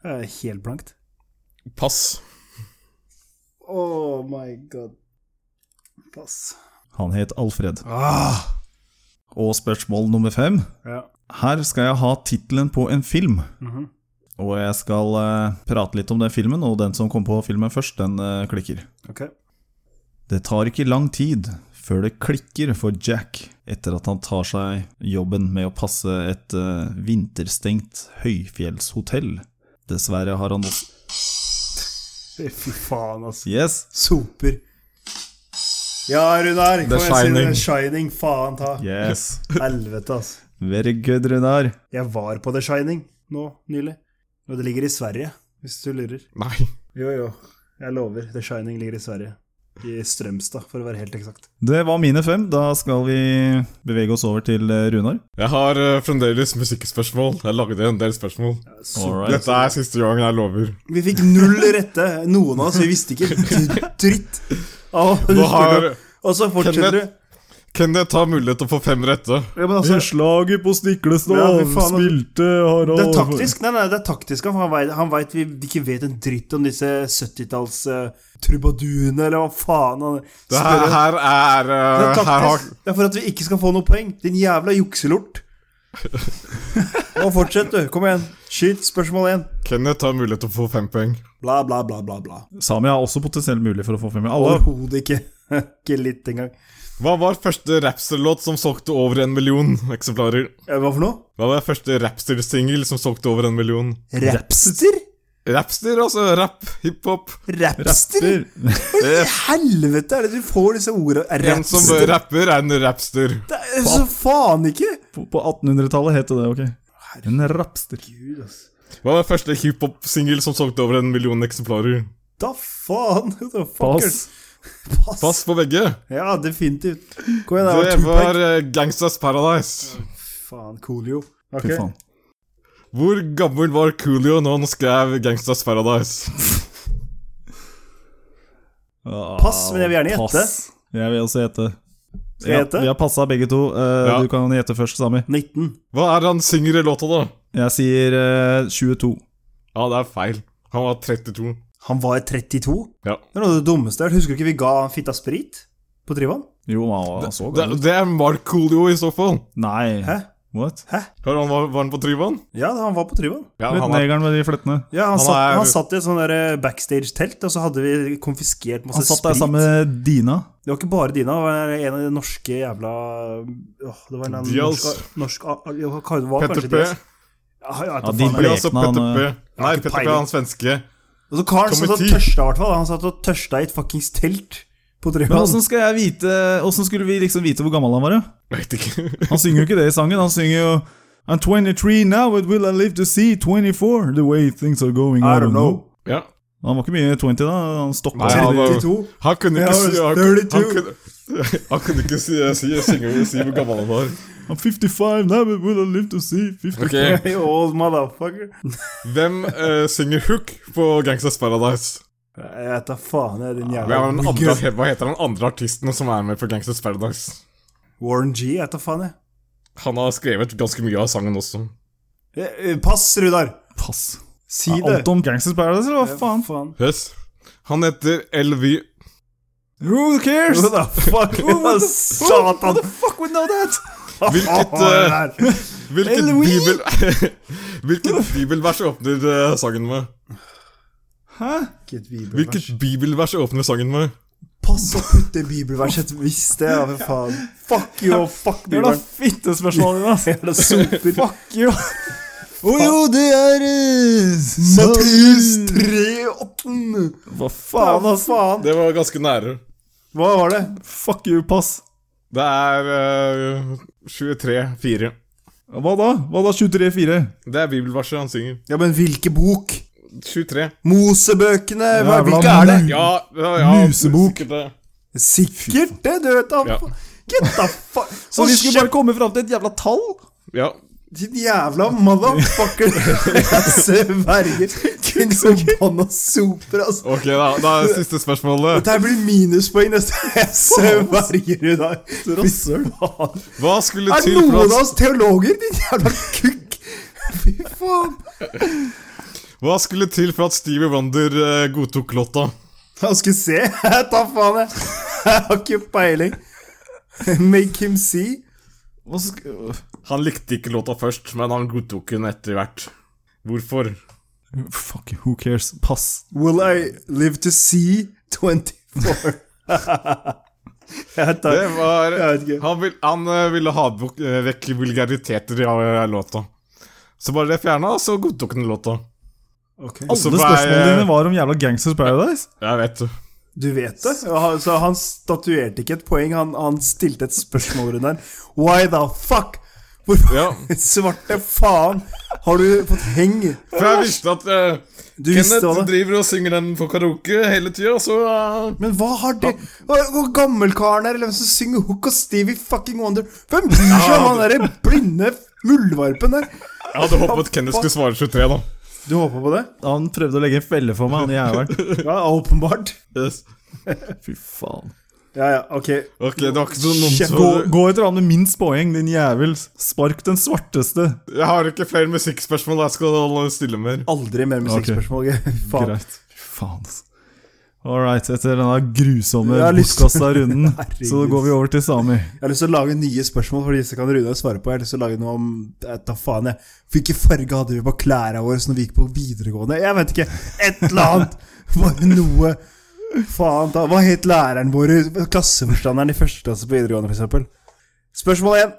Speaker 1: Det er helt blankt.
Speaker 2: Pass.
Speaker 1: Oh my god. Pass.
Speaker 3: Han het Alfred.
Speaker 1: Ah.
Speaker 3: Og spørsmål nummer fem.
Speaker 1: Ja.
Speaker 3: Her skal jeg ha tittelen på en film.
Speaker 1: Mhm.
Speaker 3: Og jeg skal eh, prate litt om den filmen, og den som kom på filmen først, den eh, klikker.
Speaker 1: Ok.
Speaker 3: Det tar ikke lang tid før det klikker for Jack etter at han tar seg jobben med å passe et eh, vinterstengt høyfjellshotell. Dessverre har han også
Speaker 1: Fy faen, altså.
Speaker 3: Yes!
Speaker 1: Soper. Ja, Runar.
Speaker 2: The
Speaker 1: kom igjen,
Speaker 2: Shining.
Speaker 1: Siv. Shining. Faen ta.
Speaker 3: Yes!
Speaker 1: Helvete, altså.
Speaker 3: Very good, Runar.
Speaker 1: Jeg var på The Shining nå nylig. Og det ligger i Sverige, hvis du lurer.
Speaker 2: Nei.
Speaker 1: Jo, jo. Jeg lover. The Shining ligger i Sverige. I Strømstad, for å være helt eksakt.
Speaker 3: Det var mine fem. Da skal vi bevege oss over til eh, Runar.
Speaker 2: Jeg har eh, fremdeles musikkspørsmål. Jeg lagde en del spørsmål.
Speaker 1: Så-
Speaker 3: Alright.
Speaker 2: Dette er siste gangen jeg lover.
Speaker 1: Vi fikk null rette, noen av oss. Vi visste ikke dritt. av hva du
Speaker 2: Nå har
Speaker 1: spurte om. Og så fortsetter du.
Speaker 2: Kenneth Kenneth har mulighet til å få fem rette.
Speaker 1: Ja, men altså,
Speaker 3: Slaget på Stiklestad
Speaker 1: Ja, fy faen.
Speaker 3: spilte Harald
Speaker 1: det er taktisk. Nei, nei, det er taktisk. Han vet, han vet vi ikke vet en dritt om disse 70-talls-trubadurene, eller hva faen han
Speaker 2: Det her,
Speaker 1: Spør-
Speaker 2: her er
Speaker 1: Det
Speaker 2: eh,
Speaker 1: er
Speaker 2: her har,
Speaker 1: taktisk. Det er for at vi ikke skal få noe poeng. Din jævla jukselort. Nå fortsett, du. Kom igjen. Skyt spørsmål én.
Speaker 2: Kenneth har mulighet til å få fem poeng.
Speaker 1: Bla, bla, bla, bla. bla.
Speaker 3: Sami er også potensielt mulig for å få fem. Alle
Speaker 1: Overhodet ikke. Ikke litt engang.
Speaker 2: Hva var første rapster-låt som solgte over en million eksemplarer?
Speaker 1: Eh, Hva for noe?
Speaker 2: Hva var første rapster-singel som solgte over en million?
Speaker 1: Rapster?
Speaker 2: Rapster, altså. Rapp. Hiphop.
Speaker 1: Rapster?
Speaker 3: rapper.
Speaker 1: Hva i helvete er det du får disse ordene?
Speaker 2: En som
Speaker 1: Rapster?
Speaker 2: rapper, er en rapster.
Speaker 1: Det er så faen ikke!
Speaker 3: På på 1800-tallet het det det, ok. En rapster.
Speaker 1: Gud, altså.
Speaker 2: Hva var første hiphop-singel som solgte over en million eksemplarer?
Speaker 1: Da faen! Da
Speaker 3: Pass.
Speaker 1: fuckers. Pass.
Speaker 2: Pass på begge.
Speaker 1: Ja, definitivt. Kom igjen, det
Speaker 2: Det
Speaker 1: var
Speaker 2: var
Speaker 1: Tupac.
Speaker 2: eh, Gangsta's Paradise.
Speaker 1: Faen, Coolio.
Speaker 3: Fy
Speaker 1: Ok.
Speaker 3: faen.
Speaker 2: Hvor gammel var Coolio når han skrev Gangsta's Paradise?
Speaker 3: Ah,
Speaker 1: Pass, men jeg vil gjerne gjette.
Speaker 3: pass. Jeg vil også gjette.
Speaker 1: Skal jeg gjette?
Speaker 3: Ja, vi har passa begge to. Eh,
Speaker 2: Ja.
Speaker 3: Du kan gjette først, Sami.
Speaker 1: 19.
Speaker 2: Hva er det han synger i låta, da?
Speaker 3: Jeg sier eh, 22.
Speaker 2: Ja, det er feil. Han var 32.
Speaker 1: Han var 32?
Speaker 2: Ja.
Speaker 1: Det er noe av det dummeste jeg har hørt. Husker du ikke vi ga han fitta sprit på Tryvann?
Speaker 3: Jo, han var så
Speaker 2: Det,
Speaker 3: gammel.
Speaker 2: det er Mark Coolio, i så fall.
Speaker 3: Nei.
Speaker 1: Hæ?
Speaker 3: What?
Speaker 2: Hør, han var, var han på Tryvann?
Speaker 1: Ja, han var på Tryvann.
Speaker 2: Ja,
Speaker 3: Litt
Speaker 2: han er,
Speaker 3: negeren med de flettene.
Speaker 1: Ja, han,
Speaker 2: Han
Speaker 1: satt,
Speaker 2: er-
Speaker 1: han satt i et sånn der, eh, backstage-telt, og så hadde vi konfiskert masse
Speaker 3: Han satt
Speaker 1: sprit.
Speaker 3: der sammen med Dina.
Speaker 1: Det var ikke bare dine, det var en av de norske jævla åh, Det var en av de
Speaker 2: Diaz.
Speaker 1: norske- norsk, ah, ja, hva- det var
Speaker 2: Petter
Speaker 1: kanskje
Speaker 2: P.
Speaker 1: Diaz. Ja, ja,
Speaker 3: Ja,
Speaker 1: faen,
Speaker 3: de
Speaker 1: jeg vet
Speaker 3: ble-
Speaker 1: ikke.
Speaker 2: Elias og
Speaker 3: Blekna,
Speaker 2: Petter
Speaker 3: han,
Speaker 2: P.
Speaker 3: øh,
Speaker 2: Nei,
Speaker 1: ikke
Speaker 2: Petter P,
Speaker 1: peiling.
Speaker 2: han svenske.
Speaker 1: Og så Carl satt og
Speaker 2: Komiti.
Speaker 1: tørsta, i hvert fall. Han satt og tørsta i et fuckings telt på
Speaker 3: Men
Speaker 1: Drøbak.
Speaker 3: åssen skal jeg vite Åssen skulle vi liksom vite hvor gammel han var, da?
Speaker 2: Veit ikke.
Speaker 3: Han synger jo ikke det i sangen. Han synger jo I'm 23 now, but will I live to see 24? The way things are going, I, don't know.
Speaker 2: ja.
Speaker 3: Han var ikke mye 20 da. Han stoppa.
Speaker 2: Nei, han var-
Speaker 1: 32.
Speaker 2: Han kunne ikke
Speaker 1: Jeg
Speaker 2: si
Speaker 1: var
Speaker 2: Han, kunne-
Speaker 1: 32.
Speaker 2: han, kunne, han kunne ikke si, si, synge, si hvor gammel han var.
Speaker 3: I'm 55 now, but will I live to see 50
Speaker 2: Ok,
Speaker 1: You Old motherfucker.
Speaker 2: Hvem eh, synger hook på Gangsters Paradise?
Speaker 1: Jeg vet da faen, jeg er din
Speaker 2: Hvem
Speaker 1: jævla
Speaker 2: er den
Speaker 1: wigger.
Speaker 2: andre, hva heter den andre artisten som er med på Gangsters Paradise?
Speaker 1: Warren G, jeg vet da faen, jeg.
Speaker 2: Han har skrevet ganske mye av sangen også.
Speaker 1: Eh, eh, Pass, Rudar.
Speaker 3: Pass.
Speaker 1: Si
Speaker 3: Er
Speaker 1: det. Eh,
Speaker 3: Alt om Gangsters Paradise, eller hva faen?
Speaker 2: Yes. Han heter LV
Speaker 3: Who cares?
Speaker 1: What the fuck?
Speaker 3: What the fuck? What
Speaker 1: Satan.
Speaker 3: the fuck would know that?
Speaker 2: Hvilket,
Speaker 3: eh,
Speaker 1: Åh, det der.
Speaker 2: Hvilket
Speaker 3: LV?
Speaker 2: bibel Hvilket bibelvers åpner eh, sangen med?
Speaker 3: Hæ?
Speaker 1: Hvilket bibelvers.
Speaker 2: Hvilket bibelvers åpner sangen med?
Speaker 1: Pass å putte bibelverset hvis det er for faen. Fuck you og fuck
Speaker 3: Det er da
Speaker 1: bibelen.
Speaker 3: fittespørsmålet ditt, ass.
Speaker 1: Jævla soper.
Speaker 3: Fuck you. Å jo, det er eh,
Speaker 1: Matteus 3,18.
Speaker 3: Hva faen, ass?
Speaker 1: faen.
Speaker 2: Det var ganske nære.
Speaker 1: Hva var det?
Speaker 3: Fuck you, pass.
Speaker 2: Det er eh, 23-4.
Speaker 3: Hva da? Hva da, 23-4?
Speaker 2: Det er bibelverset han synger.
Speaker 1: Ja, men hvilke bok?
Speaker 2: 23.
Speaker 1: Mosebøkene? Hva,
Speaker 3: Jævla
Speaker 1: hvilke er det?
Speaker 2: Ja, ja, ja
Speaker 3: Musebok.
Speaker 2: sikkert det.
Speaker 1: Sikkert det, du vet da.
Speaker 2: Ja.
Speaker 1: Get the fuck
Speaker 3: Så vi skulle bare komme fram til et jævla tall?
Speaker 2: Ja.
Speaker 1: Din jævla motherfucker. Jeg sverger. Din forbanna soper, altså.
Speaker 2: Ok, da, da er siste spørsmålet.
Speaker 1: Dette her blir minuspoeng neste Jeg sverger i dag. Rasshøl.
Speaker 2: Hva skulle
Speaker 1: Er
Speaker 2: til
Speaker 1: noen
Speaker 2: for
Speaker 1: av
Speaker 2: at,
Speaker 1: oss teologer, din jævla kukk? Fy faen.
Speaker 2: hva skulle til for at Stevie Wonder eh, godtok låta?
Speaker 1: Han skulle se. Jeg tar faen, jeg. Jeg har ikke peiling. Make him see.
Speaker 3: Hva sk-
Speaker 2: Han likte ikke låta først, men han godtok den etter hvert. Hvorfor?
Speaker 3: Fuck, who cares? Pass.
Speaker 1: Will I live to see 24? jeg tar
Speaker 2: Det var
Speaker 1: Jeg vet ikke.
Speaker 2: Han, vil, han eh, ville ha bok- eh, vekk vulgariteter i eh, låta. Så bare det fjerna, så godtok den låta.
Speaker 1: Ok.
Speaker 2: Og så
Speaker 3: Alle
Speaker 2: var
Speaker 3: spørsmålene
Speaker 2: jeg-
Speaker 3: dine var om jævla Gangsters Paradise.
Speaker 2: Jeg vet det.
Speaker 1: Du vet det? Og han- Så han statuerte ikke et poeng, han, han stilte et spørsmål rundt her. Why the fuck? Hvorfor
Speaker 2: Ja.
Speaker 1: Svarte faen! Har du fått heng?
Speaker 2: For jeg visste at eh,
Speaker 1: Du visste
Speaker 2: Kenneth
Speaker 1: hva det
Speaker 2: driver og synger den på karaoke hele tida, så eh,
Speaker 1: Men hva har det Hva Hvor gammelkaren er, eller hvem som synger Hook og Stevie fucking Wonder Hvem bryr seg om han derre blinde muldvarpen der?
Speaker 2: Jeg hadde håpet Kenneth skulle svare 23, da.
Speaker 1: Du håper på det?
Speaker 3: Han prøvde å legge en felle for meg, han jævelen.
Speaker 1: Ja, åpenbart.
Speaker 3: Fy faen.
Speaker 1: Ja, ja, ok.
Speaker 2: Ok, det var ikke så noen
Speaker 1: Shit.
Speaker 3: Gå,
Speaker 2: som
Speaker 3: gå etter han med minst poeng, din jævel. Spark den svarteste.
Speaker 2: Jeg har ikke flere musikkspørsmål jeg skal stille mer.
Speaker 1: Aldri mer musikkspørsmål. Faen.
Speaker 3: Greit. Fy faen, altså. All right, etter denne grusomme
Speaker 1: Jeg har lyst-
Speaker 3: bortkasta runden, så
Speaker 1: Herregud.
Speaker 3: går vi over til Sami.
Speaker 1: Jeg har lyst til å lage nye spørsmål for disse kan Runar svare på. Jeg har lyst til å lage noe om jeg vet da faen jeg. Hvilke farger hadde vi på klærne våre når vi gikk på videregående? Jeg vet ikke. Et eller annet. Bare noe. Faen ta. Hva het læreren vår? Klasseforstanderen i første klasse på videregående, f.eks. Spørsmål én.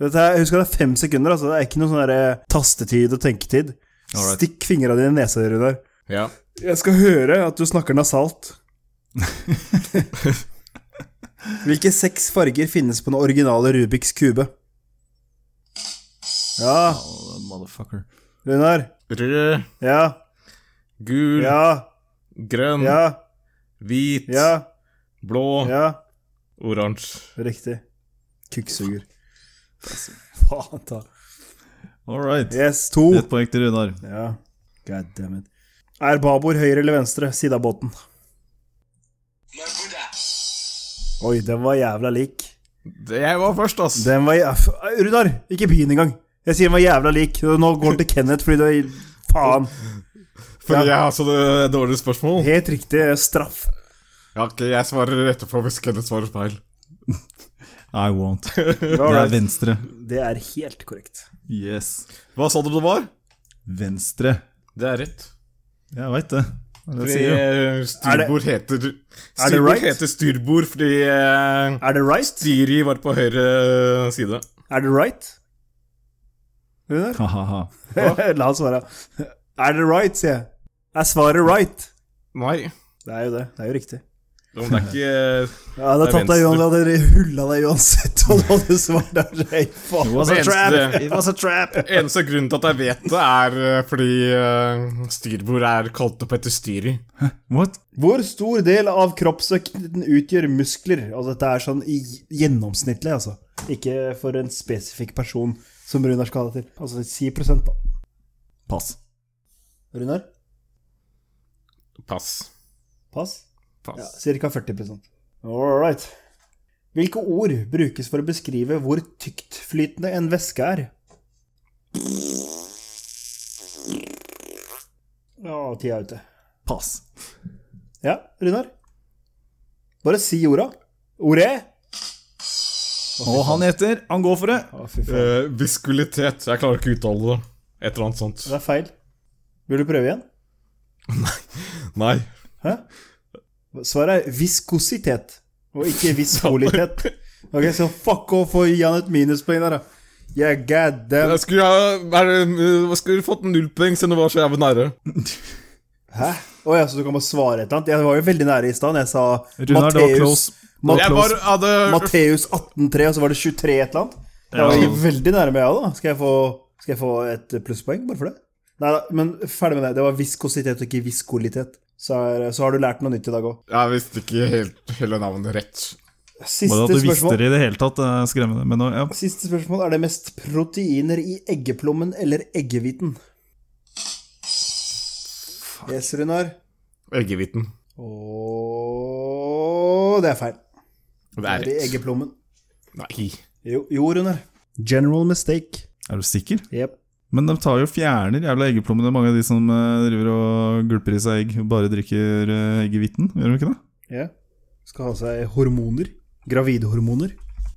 Speaker 1: Dette er, husk at det er fem sekunder. Altså. Det er ikke noe sånn der tastetid og tenketid.
Speaker 3: Alright.
Speaker 1: Stikk fingra dine i nesa, Runar.
Speaker 2: Ja.
Speaker 1: Jeg skal høre at du snakker nasalt. Hvilke seks farger finnes på den originale Rubiks kube? Ja,
Speaker 3: Oh, motherfucker.
Speaker 1: Runar.
Speaker 2: Rød,
Speaker 1: Ja,
Speaker 2: gul,
Speaker 1: ja,
Speaker 2: grønn,
Speaker 1: ja,
Speaker 2: hvit,
Speaker 1: ja,
Speaker 2: blå,
Speaker 1: ja.
Speaker 2: oransje.
Speaker 1: Riktig. Kukksuger. Faen ta.
Speaker 3: All right.
Speaker 1: Yes, to.
Speaker 3: Ett poeng til Runar.
Speaker 1: Ja. God damn it. Er babord høyre eller venstre side av båten?
Speaker 4: My Buddha.
Speaker 1: Oi, den var jævla lik.
Speaker 2: Det- Jeg var først, ass.
Speaker 1: Den var jævla Runar, ikke begynn engang. Jeg sier den var jævla lik. Nå går den til Kenneth fordi du er Faen. Ja.
Speaker 2: Fordi jeg har så d- dårlige spørsmål.
Speaker 1: Helt riktig straff.
Speaker 2: Ja, ok, jeg svarer etterpå hvis Kenneth svarer feil.
Speaker 3: I won't. Det er
Speaker 1: Alright.
Speaker 3: venstre.
Speaker 1: Det er helt korrekt.
Speaker 3: Yes.
Speaker 2: Hva sa du det var?
Speaker 3: Venstre.
Speaker 2: Det er rett.
Speaker 3: Jeg veit det. Det
Speaker 2: Fordi
Speaker 3: sier jo.
Speaker 2: eh, styrbord heter Styrbord
Speaker 1: right?
Speaker 2: heter styrbord fordi eh,
Speaker 1: Er det right?
Speaker 2: styret var på høyre eh, side.
Speaker 1: Er det right? Runar?
Speaker 3: Ha-ha-ha.
Speaker 1: La han svare. Er det right, sier jeg. Er svaret right?
Speaker 2: Nei.
Speaker 1: Det er jo det. Det er jo riktig.
Speaker 2: Men det er ikke eh,
Speaker 1: Jeg hadde
Speaker 2: Det er
Speaker 1: tatt deg,
Speaker 2: venstre.
Speaker 1: Johan. Jeg hadde hulla deg uansett om du hadde svart. Det er så- Hey, fuck. It was a trap!
Speaker 2: Venstre.
Speaker 1: It was a trap!
Speaker 2: Eneste grunnen til at jeg vet det, er eh, fordi eh, styrbord er kalt opp etter styret.
Speaker 3: What?
Speaker 1: Hvor stor del av kroppsvekten utgjør muskler? Og dette er sånn i gjennomsnittlig, altså. Ikke for en spesifikk person som Runar skal ha det til. Altså 10 da.
Speaker 3: Pass.
Speaker 1: Runar?
Speaker 2: Pass.
Speaker 1: Pass? Ja,
Speaker 2: Pass.
Speaker 1: Ca. 40 All right. Hvilke ord brukes for å beskrive hvor tyktflytende en væske er? Ja, tida er ute.
Speaker 3: Pass.
Speaker 1: Ja, Runar? Bare si orda. Ordet?
Speaker 3: Og han heter Han går for det.
Speaker 1: Å, fy faen.
Speaker 2: Eh, viskulitet. Jeg klarer ikke å uttale det. Et eller annet sånt.
Speaker 1: Det er feil. Vil du prøve igjen?
Speaker 2: Nei.
Speaker 1: Hæ? Svaret er viskositet, og ikke viskolitet. Ok, så fuck off og gi han et minuspoeng der, da. Yeah, god damn.
Speaker 2: Jeg skulle, ha- er, det- eh, jeg skulle fått nullpoeng siden det var så jævlig nære.
Speaker 1: Hæ? Å ja, så du kan bare svare et eller annet? Jeg var jo veldig nære i stad. Jeg sa
Speaker 3: Runar, det var close.
Speaker 1: Ma-
Speaker 2: Jeg bare hadde
Speaker 1: Matteus 18,3, og så var det 23 et eller annet. Jeg var
Speaker 3: Ja.
Speaker 1: jo veldig nærme, jeg òg, da. Skal jeg, få, skal jeg få et plusspoeng bare for det? Nei da, men ferdig med det. Det var viskositet og ikke viskolitet. Så, er, så har du lært noe nytt i dag òg.
Speaker 2: Jeg visste ikke helt hele navnet rett.
Speaker 1: Siste
Speaker 3: Bare at du visste
Speaker 1: spørsmål.
Speaker 3: det i det hele tatt, er skremmende. Men nå, ja.
Speaker 1: Siste spørsmål. Er det mest proteiner i eggeplommen eller eggehviten? Yes, Runar.
Speaker 2: Eggehviten.
Speaker 1: Ååå Det er feil. Er
Speaker 2: Det er
Speaker 1: det i
Speaker 2: rett.
Speaker 1: eggeplommen?
Speaker 2: Nei.
Speaker 1: Jo, jo Runar. General mistake.
Speaker 3: Er du sikker?
Speaker 1: Jep.
Speaker 3: Men de tar jo fjerner jævla eggeplommene, mange av de som eh, driver og gulper i seg egg. Bare drikker eh, eggehviten, gjør de ikke det?
Speaker 1: Ja. Skal ha seg hormoner. Gravidehormoner.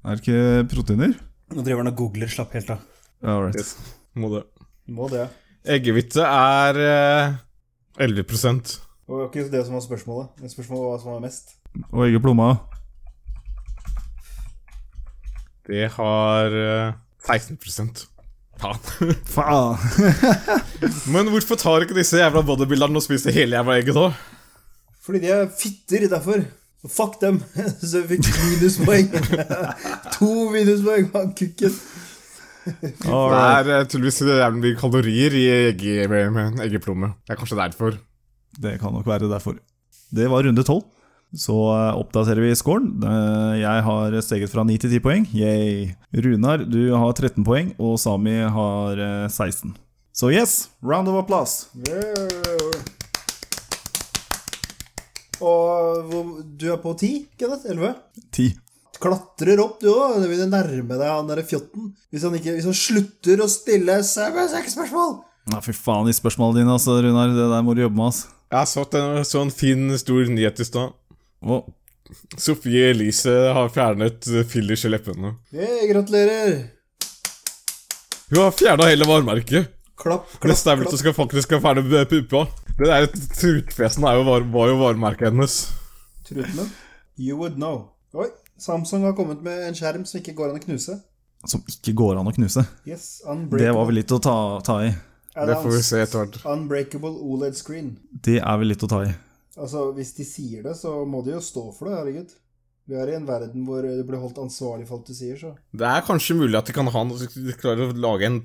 Speaker 3: Er det ikke proteiner?
Speaker 1: Nå driver han og googler. Slapp helt av.
Speaker 3: All right.
Speaker 2: Yes. Må det.
Speaker 1: Må det.
Speaker 2: Eggehvite er eh, 11
Speaker 1: Det var ikke det som var spørsmålet. Men spørsmålet var hva som var mest.
Speaker 3: Og eggeplomma.
Speaker 2: Det har eh, 16 Faen.
Speaker 3: Faen!
Speaker 2: Men hvorfor tar ikke disse jævla bodybuilderne og spiser hele jævla egget, da?
Speaker 1: Fordi de er fitter, derfor. Fuck dem! Så jeg fikk minuspoeng. to minuspoeng av kukken.
Speaker 2: Det
Speaker 3: All right.
Speaker 2: er eh, tydeligvis jævlig mye kalorier i egge, med- med eggeplomme. Det er kanskje derfor.
Speaker 3: Det kan nok være derfor. Det var runde tolv. Så eh, oppdaterer vi scoren. Eh, Jeg har steget fra 9 til 10 poeng. Yay. Runar, du har 13 poeng, og Sami har eh, 16. Så yes, round of applause.
Speaker 1: Og hvor- du er på ti, Kenneth? Elleve?
Speaker 3: 10.
Speaker 1: Klatrer opp, du òg. Du vil nærme deg han derre fjotten. Hvis han, ikke, hvis han slutter å stille seks spørsmål!
Speaker 3: Nei, fy faen i spørsmålene dine, altså, Runar. Det der må du jobbe med, altså. ass.
Speaker 2: Jeg så en sånn fin, stor nyhet i stad.
Speaker 3: Wow.
Speaker 2: Sophie Elise har fjernet eh, fillers i leppene.
Speaker 1: Hey, gratulerer!
Speaker 2: Hun har fjerna hele varemerket.
Speaker 1: Klapp, klapp,
Speaker 2: Neste er vel at hun
Speaker 1: klapp.
Speaker 2: skal faktisk skal fjerne eh, puppa. Det der trutfesen er jo var, var jo varemerket hennes.
Speaker 1: Trutmunn. You would know. Oi, Samsung har kommet med en skjerm som ikke går an å knuse.
Speaker 3: Som ikke går an å knuse.
Speaker 1: Yes,
Speaker 3: Det
Speaker 1: unbreakable.
Speaker 3: var vel litt å ta, ta i.
Speaker 1: Er
Speaker 2: Det
Speaker 1: det
Speaker 2: får vi se etter hvert.
Speaker 1: Unbreakable OLED screen.
Speaker 3: Det er vel litt å ta i.
Speaker 1: Altså, Hvis de sier det, så må de jo stå for det, herregud. Vi er i en verden hvor det blir holdt ansvarlig for alt du sier, så
Speaker 2: Det er kanskje mulig at de kan ha en, klarer å lage en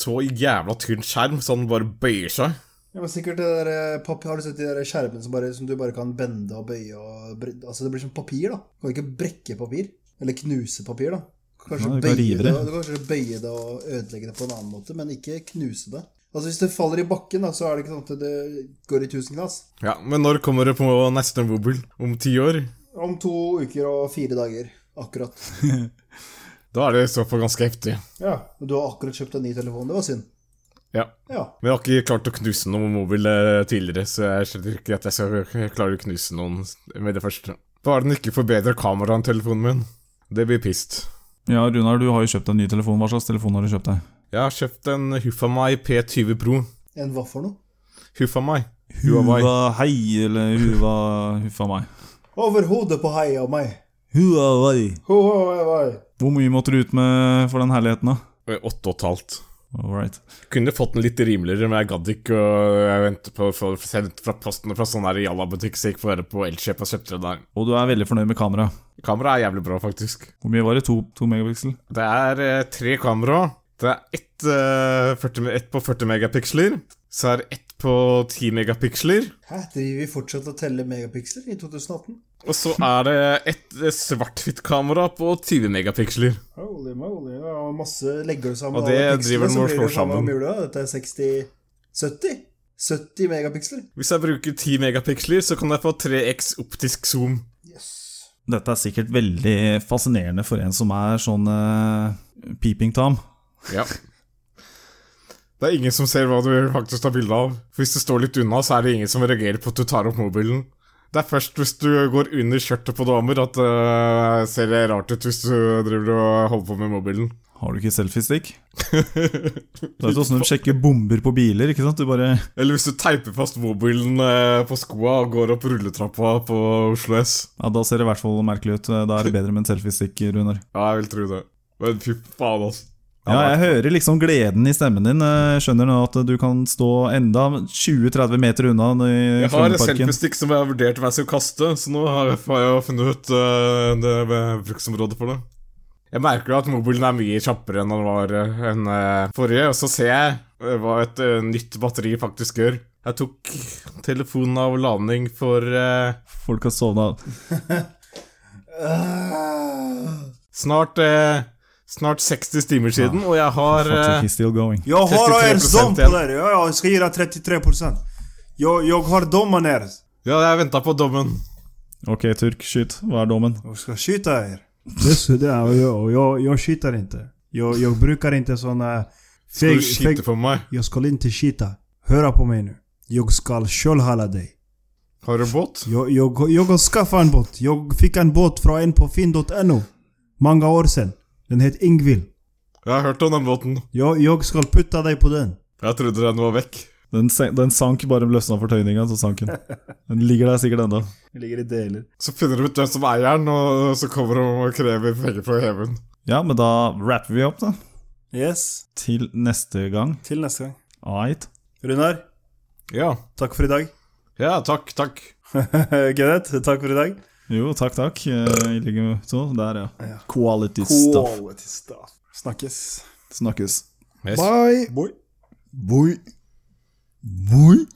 Speaker 2: så jævla tynn skjerm så den bare bøyer seg.
Speaker 1: ja, men sikkert det der, eh, papp- Har du sett de der skjermene som, bare, som du bare kan bende og bøye og bre- Altså, det blir som papir, da. Du kan ikke brekke papir. Eller knuse papir, da. Kanskje
Speaker 3: Nei, du kan
Speaker 1: bøye det,
Speaker 3: rive det.
Speaker 1: du kan kanskje bøye det og ødelegge det på en annen måte, men ikke knuse det. Altså, Hvis det faller i bakken, da, så er det ikke sånn at det går i tusen knas.
Speaker 2: Ja, Men når kommer det på neste Wobble? Om ti år?
Speaker 1: Om to uker og fire dager. Akkurat.
Speaker 2: Da er det i så fall ganske heftig.
Speaker 1: Ja, og Du har akkurat kjøpt en ny telefon. Det var synd.
Speaker 2: Ja.
Speaker 1: Ja.
Speaker 2: Men jeg har ikke klart å knuse noen mobil eh, tidligere, så jeg skjønner ikke at jeg skal klare å knuse noen med det første. Bare den ikke forbedrer kameraet enn telefonen min. Det blir pissed.
Speaker 3: Ja, Runar, du har jo kjøpt en ny telefon. Hva slags telefon har du kjøpt deg?
Speaker 2: Jeg har kjøpt en Huffamai P20 Pro.
Speaker 1: En hva for noe?
Speaker 2: Huffamai. Huawei.
Speaker 3: Huva hei, eller huva huffa meg.
Speaker 1: Over hodet på hei og meg.
Speaker 3: Huawei.
Speaker 1: Ho, ho, hei, hei.
Speaker 3: Hvor mye måtte du ut med for den herligheten, da?
Speaker 2: Eh, Åtte og et halvt.
Speaker 3: All right.
Speaker 2: Kunne fått den litt rimeligere, men jeg gadd ikke. Og jeg ventet på å få sendt fra posten fra sånn her Jalla-butikk, så jeg gikk bare på Elkjøp og kjøpte det der.
Speaker 3: Og du er veldig fornøyd med kameraet.
Speaker 2: Kameraet er jævlig bra, faktisk.
Speaker 3: Hvor mye var det? To, to megapiksel?
Speaker 2: Det er eh, tre kamera. Det er ett, eh, 40, me- ett på 40 megapiksler. Så er det ett på 10 megapiksler.
Speaker 1: Hæ, driver vi fortsatt og teller megapiksler i 2018?
Speaker 2: Og så er det et eh, svart-hvitt-kamera på 20 megapiksler.
Speaker 1: Holy moly, ja, masse legger du sammen
Speaker 2: Og det
Speaker 1: alle
Speaker 2: driver den
Speaker 1: så
Speaker 2: og
Speaker 1: blir
Speaker 2: slår
Speaker 1: det samme
Speaker 2: sammen.
Speaker 1: mulig, da. Dette er 60 70? 70 megapiksler?
Speaker 2: Hvis jeg bruker 10 megapiksler, så kan jeg få 3x optisk zoom.
Speaker 1: Yes.
Speaker 3: Dette er sikkert veldig fascinerende for en som er sånn eh, peeping tom.
Speaker 2: Ja. Det er ingen som ser hva du faktisk tar bilde av. For Hvis du står litt unna, så er det ingen som reagerer på at du tar opp mobilen. Det er først hvis du går under skjørtet på damer at det ser det rart ut hvis du driver og holder på med mobilen.
Speaker 3: Har du ikke selfiestick? Det er jo sånn de sjekker bomber på biler, ikke sant? Du bare
Speaker 2: Eller hvis du teiper fast mobilen eh, på skoa og går opp rulletrappa på Oslo S.
Speaker 3: Ja, da ser det i hvert fall merkelig ut. Da er det bedre med en selfiestick, Runar.
Speaker 2: Ja, jeg vil tro det. Men fy faen, altså.
Speaker 3: Ja, jeg hører liksom gleden i stemmen din. eh, Skjønner nå at du kan stå enda 20-30 meter unna i
Speaker 2: Jeg har et
Speaker 3: Frognerparken.
Speaker 2: selfiestick som jeg har vurdert hva jeg skal kaste, så nå har jeg, har jeg funnet ut eh, det med bruksområdet for det. Jeg merker jo at mobilen er mye kjappere enn den var eh, enn eh, forrige, og så ser jeg eh, hva et eh, nytt batteri faktisk gjør. Jeg tok telefonen av ladning for eh,
Speaker 3: Folk har sovna.
Speaker 2: snart, eh, snart 60 timer siden, og jeg har eh,
Speaker 3: Fortsatt still going.
Speaker 1: Jeg har en
Speaker 2: 33%
Speaker 1: dom på
Speaker 2: igjen.
Speaker 1: dere! Ja, ja, jeg skal gi deg 33 Jeg, jeg har dommen deres.
Speaker 2: Ja, jeg venta på dommen.
Speaker 3: Ok, Turk, skyt. Hva er dommen?
Speaker 1: Jag ska skjuta er. Det, det är jag, och jag, jag skjuter inte. Jag, jag brukar inte såna...
Speaker 2: Du
Speaker 1: Feg, feg,
Speaker 2: skyter på meg.
Speaker 1: jag ska inte skita. Höra på mig nu. Jag ska köldhalla dig.
Speaker 2: Har du båt?
Speaker 1: Jag, jag, jag har skaffat en båt. Jag fick en båt från en på Finn.no. Många år sedan. Den heter Ingvild.
Speaker 2: Jeg har hørt om den båten.
Speaker 1: Jag, jag ska putta dig på den.
Speaker 2: Jeg trodde den var vekk.
Speaker 3: Den, se- den sank, bare løsna fortøyninga, så sank den. Den ligger der sikkert ennå.
Speaker 1: Ligger i deler.
Speaker 2: Så finner de ut hvem som eier den, og så kommer de og krever penger for å heve den.
Speaker 3: Ja, men da rapper vi opp, da.
Speaker 1: Yes.
Speaker 3: Til neste gang.
Speaker 1: Till nästa gång.
Speaker 3: Ait.
Speaker 1: Runar,
Speaker 2: Ja.
Speaker 1: tack för idag.
Speaker 2: Ja, takk, takk.
Speaker 1: Kenneth, tack för idag.
Speaker 3: Jo, takk, takk. Eh, I like så. Der, ja. Quality stuff.
Speaker 1: Quality stuff. Snackes.
Speaker 3: Snakkes.
Speaker 2: Yes.
Speaker 1: Bye.
Speaker 3: Boy. Boy.